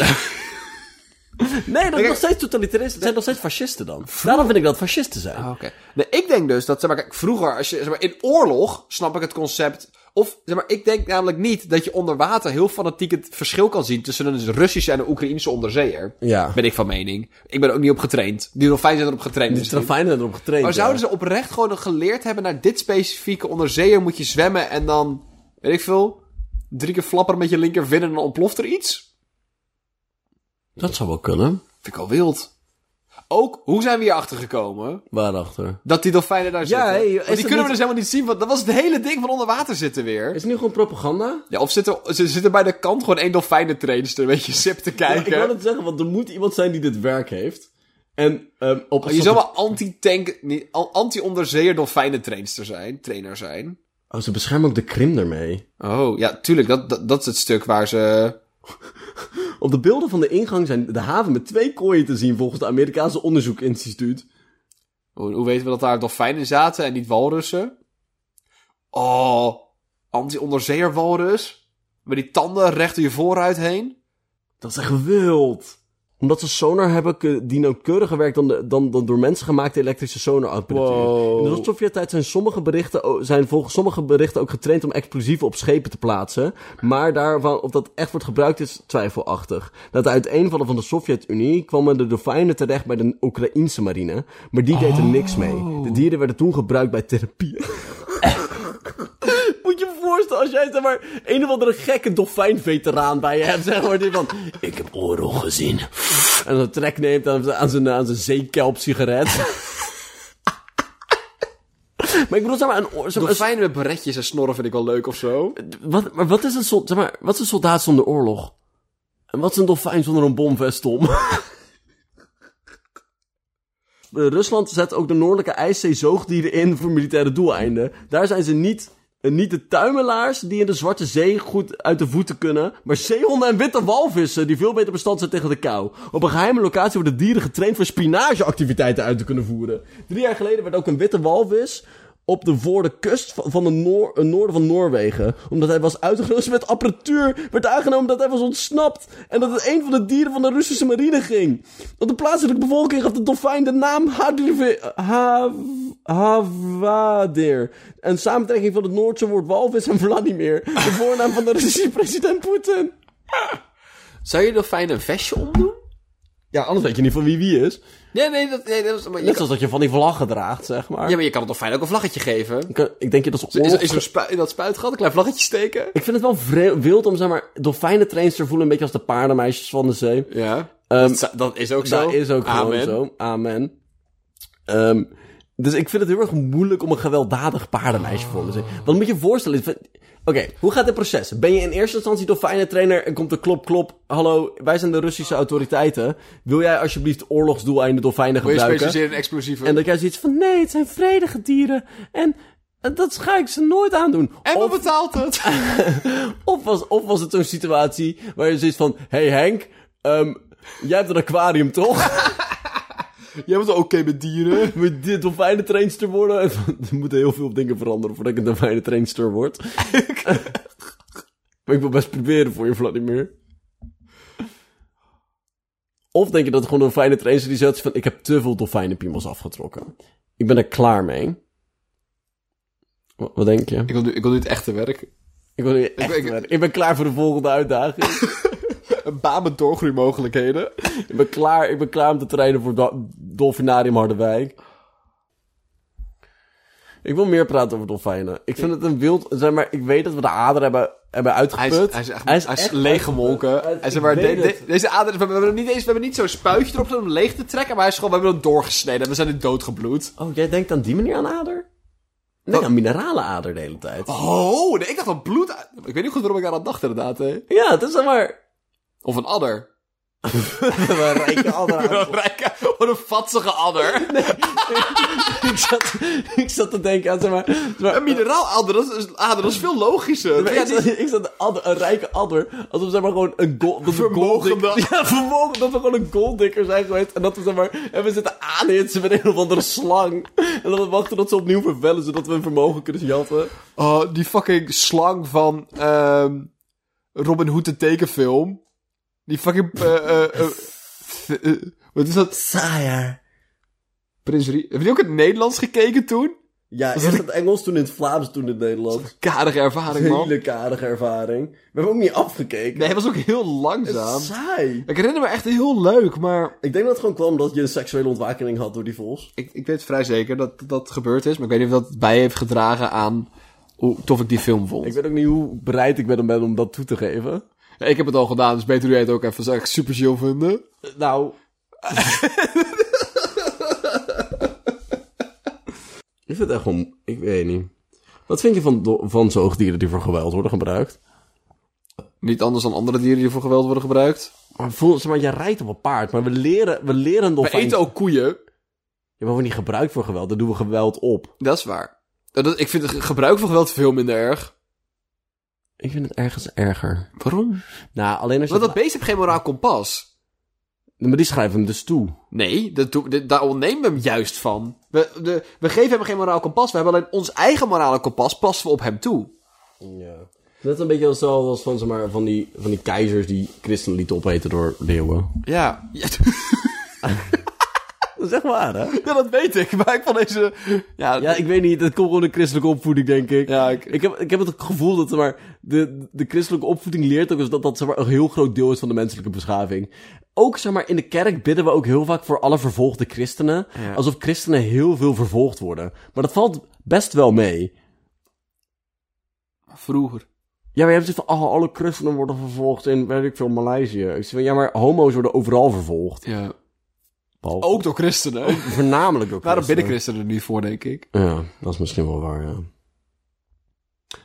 Speaker 1: nee, dat is nog steeds totalitaristen. Dat zijn nog steeds fascisten dan. Daarom vind ik dat fascisten zijn.
Speaker 2: Oké. Nee, ik denk dus dat, zeg maar, kijk, vroeger, als je, zeg maar, in oorlog snap ik het concept. Of, zeg maar, ik denk namelijk niet dat je onder water heel fanatiek het verschil kan zien tussen een Russische en een Oekraïnse onderzeeër.
Speaker 1: Ja.
Speaker 2: Ben ik van mening. Ik ben er ook niet op getraind. Die dolfijnen zijn erop getraind.
Speaker 1: Die
Speaker 2: misschien.
Speaker 1: dolfijnen zijn erop getraind.
Speaker 2: Maar
Speaker 1: ja.
Speaker 2: zouden ze oprecht gewoon geleerd hebben naar dit specifieke onderzeeër moet je zwemmen en dan, weet ik veel, drie keer flapperen met je linkervin en dan ontploft er iets?
Speaker 1: Dat zou wel kunnen.
Speaker 2: Vind ik al wild. Ook, hoe zijn we hierachter gekomen?
Speaker 1: Waarachter?
Speaker 2: Dat die dolfijnen daar zitten.
Speaker 1: hey, is
Speaker 2: Want
Speaker 1: dat
Speaker 2: die kunnen we
Speaker 1: niet-
Speaker 2: dus helemaal niet zien, want dat was het hele ding van onder water zitten weer.
Speaker 1: Is het nu gewoon propaganda?
Speaker 2: Ja, of zitten, ze zitten bij de kant gewoon één dolfijnentrainster een beetje sip te
Speaker 1: Ik wil
Speaker 2: kijken.
Speaker 1: het zeggen, want er moet iemand zijn die dit werk heeft. En ehm op
Speaker 2: Oh, je zou wel anti-tank, niet- an- anti-onderzeeër dolfijnentrainster zijn, trainer zijn.
Speaker 1: Oh, ze beschermen ook de Krim daarmee.
Speaker 2: Oh, ja, tuurlijk, dat, dat, dat is het stuk waar ze...
Speaker 1: Op de beelden van de ingang zijn de haven met twee kooien te zien volgens het Amerikaanse onderzoekinstituut.
Speaker 2: Hoe, hoe weten we dat daar dolfijnen zaten en niet walrussen? Oh, anti-onderzeeër walrus? Met die tanden recht door je vooruit heen?
Speaker 1: Dat is echt wild. Omdat ze sonar hebben kun- die nauwkeuriger werkt dan, de, dan, dan door mensen gemaakte elektrische sonar-apparatuur.
Speaker 4: Wow.
Speaker 1: In de Rostovia-tijd zijn, sommige berichten o- zijn volgens sommige berichten ook getraind om explosieven op schepen te plaatsen. Maar daarvan, of dat echt wordt gebruikt is twijfelachtig. Na het uiteenvallen van de Sovjet-Unie kwamen de dolfijnen terecht bij de Oekraïnse marine. Maar die deed er niks mee. De dieren werden toen gebruikt bij therapie. [laughs] Moet je je voorstellen als jij zeg maar een of andere gekke dolfijnveteraan bij je hebt, zeg maar, die van, ik heb oorlog gezien. En dan een trek neemt aan, zijn- aan zijn, aan zijn zeekelp sigaret. maar ik bedoel, zeg maar, een, oor- zeg maar, een-
Speaker 2: Dolfijnen met beretjes en snorren vind ik wel leuk of zo.
Speaker 1: wat, maar wat is een soldaat, zeg maar, wat is een soldaat zonder oorlog? En wat is een dolfijn zonder een bomvest [laughs] om? Rusland zet ook de noordelijke ijszee zoogdieren in voor militaire doeleinden. Daar zijn ze niet, eh, niet de tuimelaars die in de Zwarte Zee goed uit de voeten kunnen, maar zeehonden en witte walvissen die veel beter bestand zijn tegen de kou. Op een geheime locatie worden dieren getraind voor spionageactiviteiten uit te kunnen voeren. Drie jaar geleden werd ook een witte walvis op de voor de kust van van de noor, eh, noorden van Noorwegen. Omdat hij was uitgerust met apparatuur. Werd aangenomen dat hij was ontsnapt. En dat het een van de dieren van de Russische marine ging. Op de plaatselijke bevolking gaf de dolfijn de naam Hadrive- Hav- Havadir. Een samentrekking van het Noordse woord walvis en Vladimir. De voornaam van de Russische president Poetin.
Speaker 2: Zou je dolfijnen een vestje omdoen?
Speaker 1: Ja, anders weet je niet van wie wie is.
Speaker 2: Nee, nee, dat, nee, dat is... Maar
Speaker 1: Net
Speaker 2: je kan,
Speaker 1: zoals dat je van die vlaggen draagt, zeg maar.
Speaker 2: ja, maar je kan het dolfijn ook een vlaggetje geven.
Speaker 1: Ik, eh, ik denk je dat
Speaker 2: Is,
Speaker 1: oorlog-
Speaker 2: is er spu- in dat spuitgat een klein vlaggetje steken?
Speaker 1: Ik vind het wel vre- wild om, zeg maar, dolfijnentrainster voelen een beetje als de paardenmeisjes van de zee.
Speaker 2: Ja.
Speaker 1: Ehm,
Speaker 2: dat, zou- dat is ook zo.
Speaker 1: Dat is ook
Speaker 2: Amen.
Speaker 1: gewoon zo. Amen. Ehm, dus ik vind het heel erg moeilijk om een gewelddadig paardenmeisje voor me te zien. Want moet je je voorstellen... ik vind- Oké, hoe gaat dit proces? Ben je in eerste instantie dolfijnentrainer en komt er klop, klop... Hallo, wij zijn de Russische autoriteiten. Wil jij alsjeblieft oorlogsdoeleinden dolfijnen
Speaker 2: Wil je
Speaker 1: gebruiken?
Speaker 2: specialiseren in explosieven?
Speaker 1: En dat jij zoiets van... Nee, het zijn vredige dieren. En eh, dat ga ik ze nooit aandoen.
Speaker 2: En wat
Speaker 1: Of-
Speaker 2: betaalt [laughs] het?
Speaker 1: of was, of was het zo'n situatie waar je zoiets van... Hé hey Henk, ehm, jij hebt een aquarium toch? [laughs]
Speaker 2: Jij bent wel oké met dieren.
Speaker 1: Moet dit dolfijnen trainster worden? En van, Er moeten heel veel dingen veranderen voordat ik een dolfijnen trainster word. [laughs] maar ik wil best proberen voor je, Vladimir. Of denk je dat het gewoon een fijne trainer die zegt van... Ik heb te veel dolfijnenpiemels afgetrokken. Ik ben er klaar mee. Wa- Wat, denk je?
Speaker 2: Ik wil, nu, ik wil nu het echte werk.
Speaker 1: Ik, wil nu echt
Speaker 2: ik-
Speaker 1: werken. ik ben klaar voor de volgende uitdaging.
Speaker 2: Een baan met doorgroeimogelijkheden.
Speaker 1: ik, ben klaar, ik ben klaar om te trainen voor Do- Dolfinarium Harderwijk. Ik wil meer praten over dolfijnen. Ik vind het een wild... Zeg maar, ik weet dat we de ader hebben, hebben
Speaker 2: Hij
Speaker 1: uitgeput.
Speaker 2: is, hij is echt, hij is
Speaker 1: echt
Speaker 2: leeggemolken.
Speaker 1: uitgeput.
Speaker 2: Hij is, maar,
Speaker 1: Ik
Speaker 2: de-
Speaker 1: weet
Speaker 2: de- deze ader, we hebben hem niet eens, we hebben niet zo'n spuitje erop gezet om hem leeg te trekken, maar hij is gewoon, we hebben hem doorgesneden en we zijn in doodgebloed.
Speaker 1: Oh, jij denkt aan die manier aan ader? Nee, aan minerale ader de hele tijd.
Speaker 2: Oh, nee, ik dacht dat bloed. uit- Ik weet niet goed waarom ik aan dat dacht inderdaad, hè.
Speaker 1: Ja, het is zeg maar...
Speaker 2: Of een adder.
Speaker 1: een rijke ader aan.
Speaker 2: [laughs] Een rijke- Wat een vatsige [laughs] adder.
Speaker 1: [laughs] ik, zat, ik zat te denken aan, zeg maar... zeg maar,
Speaker 2: Een mineraaladder, dat is, ader, dat is veel logischer.
Speaker 1: maar
Speaker 2: Ja,
Speaker 1: ik zat, ik zat een, adder- een rijke adder, alsof zeg maar gewoon een gold...
Speaker 2: Vermogende.
Speaker 1: [laughs] Ja, vermogen dat we gewoon een golddikker zijn geweest. En dat we zeg maar... En we zitten aanhitsen met een of andere slang. En dat we wachten dat ze opnieuw vervellen, zodat we hun vermogen kunnen jatten.
Speaker 2: [laughs] Oh, die fucking slang van ehm, Robin Hood de tekenfilm. Die fucking... eh, eh, eh, th- eh, wat is dat?
Speaker 1: Sire.
Speaker 2: Prins Rie. Heb je ook in het Nederlands gekeken toen?
Speaker 1: Ja, eerst in het Engels, toen in het Vlaams, toen in het Nederlands.
Speaker 2: Karige ervaring, man.
Speaker 1: Hele karige ervaring. We hebben ook niet afgekeken.
Speaker 2: Nee, hij was ook heel langzaam.
Speaker 1: Saai.
Speaker 2: Ik herinner me echt heel leuk, maar...
Speaker 1: Ik denk dat het gewoon kwam dat je een seksuele ontwakening had door die vos.
Speaker 2: Ik, ik weet vrij zeker dat dat gebeurd is. Maar ik weet niet of dat bij heeft gedragen aan hoe tof ik die film vond.
Speaker 1: Ik
Speaker 2: Ik,
Speaker 1: weet ook niet hoe bereid ik ben om, ben om dat toe te geven.
Speaker 2: heb het al gedaan, dus beter doe jij het ook even. Zou ik super chill vinden.
Speaker 1: Eh, Nou. [laughs] Is het echt gewoon... Ik weet niet. Wat vind je van, do- van zoogdieren die voor geweld worden gebruikt?
Speaker 2: Niet anders dan andere dieren die voor geweld worden gebruikt.
Speaker 1: Maar voel, zeg maar, je rijdt op een paard, maar we leren, we leren een
Speaker 2: We
Speaker 1: dolfijn...
Speaker 2: eten ook koeien.
Speaker 1: Ja, maar we niet gebruikt voor geweld, dan doen we geweld op.
Speaker 2: Dat is waar. Eh, dat- ik vind het ge- gebruik van geweld veel minder erg.
Speaker 1: Ik vind het ergens erger.
Speaker 2: Waarom?
Speaker 1: Nou, alleen als je...
Speaker 2: Want dat beest heeft geen moraal kompas.
Speaker 1: Maar die schrijven hem dus toe.
Speaker 2: Nee, dat doe, dit- daar ontnemen we hem juist van. We, de, we geven hem geen moraal kompas. We hebben alleen ons eigen morale kompas passen we op hem toe.
Speaker 1: Ja. Net een beetje hetzelfde als van, zeg maar, van, die, van die keizers die christenen lieten opeten door leeuwen.
Speaker 2: Ja. Ja, [laughs]
Speaker 1: Dat is echt waar, hè?
Speaker 2: dat weet ik. Maar ik van deze... Ja,
Speaker 1: Ja, ik weet niet. Dat komt gewoon de christelijke opvoeding, denk ik.
Speaker 2: Ja, ik-
Speaker 1: heb, ik heb het gevoel dat zeg maar, de, de christelijke opvoeding leert ook eens dat dat zeg maar, een heel groot deel is van de menselijke beschaving. Ook zeg maar, in de kerk bidden we ook heel vaak voor alle vervolgde christenen. Alsof christenen heel veel vervolgd worden. Maar dat valt best wel mee.
Speaker 2: vroeger.
Speaker 1: Ja, maar je hebt zoiets van, oh, alle christenen worden vervolgd in, weet ik veel, Maleisië. Ik zeg van, ja, maar homo's worden overal vervolgd.
Speaker 2: Ja.
Speaker 1: Paul.
Speaker 2: Ook door christenen.
Speaker 1: Voornamelijk ook.
Speaker 2: [laughs] Waarom bidden christenen er niet voor, denk ik?
Speaker 1: Ja, dat is misschien wel waar, ja.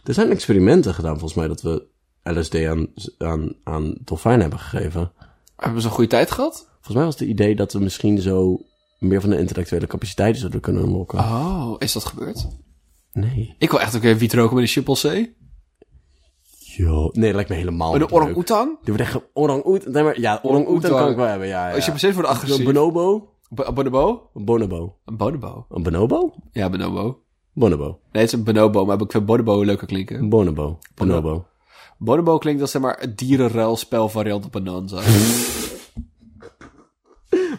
Speaker 1: Er zijn experimenten gedaan, volgens mij, dat we LSD aan, aan, aan dolfijnen hebben gegeven.
Speaker 2: Hebben ze een goede tijd gehad?
Speaker 1: Volgens mij was het idee dat we misschien zo meer van de intellectuele capaciteiten zouden kunnen unlocken.
Speaker 2: Oh, is dat gebeurd?
Speaker 1: Nee.
Speaker 2: Ik wil echt ook even wiet roken met een chimpansee.
Speaker 1: Yo. Nee, dat lijkt me helemaal
Speaker 2: Met
Speaker 1: niet
Speaker 2: een
Speaker 1: leuk.
Speaker 2: orang-oetang.
Speaker 1: Die wordt echt ge- orang-oet. Nee, maar ja, orang-oetan
Speaker 2: Orang-oetan.
Speaker 1: kan ik wel hebben, ja. ja.
Speaker 2: Als je precies voor de
Speaker 1: Een
Speaker 2: agressief.
Speaker 1: bonobo?
Speaker 2: Bo- bonobo?
Speaker 1: Een bonobo.
Speaker 2: Een bonobo.
Speaker 1: Een bonobo?
Speaker 2: Ja, bonobo.
Speaker 1: Bonobo.
Speaker 2: Nee, het is een bonobo, maar ik vind bonobo leuker klinken.
Speaker 1: Een bonobo. Bonobo.
Speaker 2: Bonobo klinkt als zeg maar het dierenruilspel variant op [laughs] Bonanza.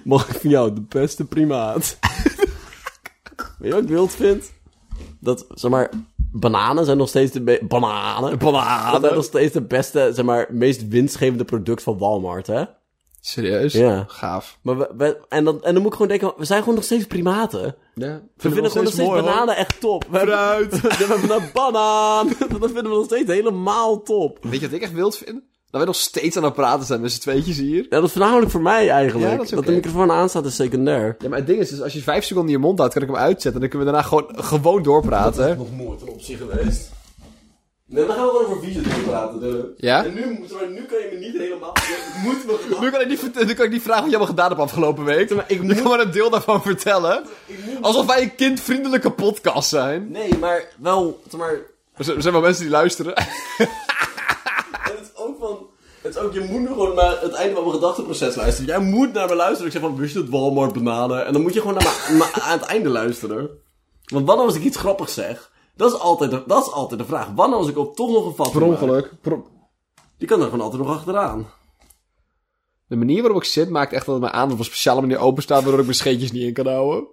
Speaker 1: Mag ik van jou de beste [laughs] primaat? Weet je wat ik wild vind? Dat, zeg maar, bananen zijn nog steeds de... be- Bananen? Bananen zijn nog steeds de beste, zeg maar, meest winstgevende product van Walmart, hè?
Speaker 2: Serieus?
Speaker 1: Ja.
Speaker 2: Gaaf.
Speaker 1: Maar we, we- en, dan, en dan moet ik gewoon denken, we zijn gewoon nog steeds primaten.
Speaker 2: Ja.
Speaker 1: We vinden gewoon nog steeds bananen echt top. We hebben, [laughs]
Speaker 2: [laughs]
Speaker 1: we hebben een banaan. [laughs] Dat vinden we nog steeds helemaal top.
Speaker 2: Weet je wat ik echt wild vind? Dat wij nog steeds aan het praten zijn met z'n tweetjes hier.
Speaker 1: Ja, dat is voornamelijk voor mij eigenlijk.
Speaker 2: Ja, dat is oké.
Speaker 1: de microfoon aanstaat is secundair.
Speaker 2: Ja, maar het ding is, dus als je vijf seconden in je mond houdt, kan ik hem uitzetten. En dan kunnen we daarna gewoon, eh, gewoon doorpraten.
Speaker 1: nog nooit een optie geweest. Nee, dan gaan we gewoon over vieze praten.
Speaker 2: Ja? En
Speaker 1: En nu, nu kan je me niet helemaal... moet
Speaker 2: Nu kan, ik niet, vert- nu kan ik niet vragen wat je allemaal gedaan hebt afgelopen week. Maar ik kan maar een deel daarvan vertellen. Alsof wij een kindvriendelijke podcast zijn.
Speaker 1: Nee, maar wel... zeg Maar,
Speaker 2: Er zijn er zijn wel mensen die luisteren.
Speaker 1: en het is ook van... Het is ook, je moet nu gewoon naar het einde van mijn gedachteproces luisteren. Jij moet naar me luisteren. Ik zeg van, wist je dat Walmart bananen? En dan moet je gewoon naar me, me- aan het einde luisteren. Want wanneer als ik iets grappigs zeg... Dat is altijd de, dat is altijd de vraag. Wanneer als ik op toch nog een vat maak?
Speaker 2: Per-
Speaker 1: Je kan er gewoon altijd nog achteraan.
Speaker 2: De manier waarop ik zit maakt echt dat mijn aandacht op een speciale manier open staat, waardoor ik mijn scheetjes niet in kan houden.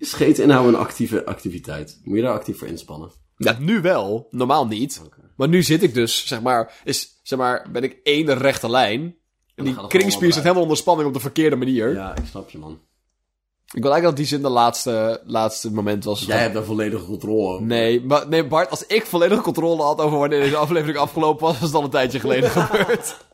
Speaker 1: Scheet inhouden een actieve activiteit. Moet je daar actief voor inspannen?
Speaker 2: Ja, nu wel. Normaal niet. Maar nu zit ik dus, zeg maar, is, zeg maar ben ik één rechte lijn. En
Speaker 1: gaat
Speaker 2: die
Speaker 1: het
Speaker 2: kringspier
Speaker 1: allemaal
Speaker 2: zit helemaal onder spanning op de verkeerde manier.
Speaker 1: Ja, ik snap je, man.
Speaker 2: Ik wil eigenlijk dat die zin de laatste, laatste moment was.
Speaker 1: Jij hebt daar volledige controle over.
Speaker 2: Nee, maar, nee, Bart, als ik volledige controle had over wanneer deze aflevering afgelopen was, was het al een tijdje geleden gebeurd.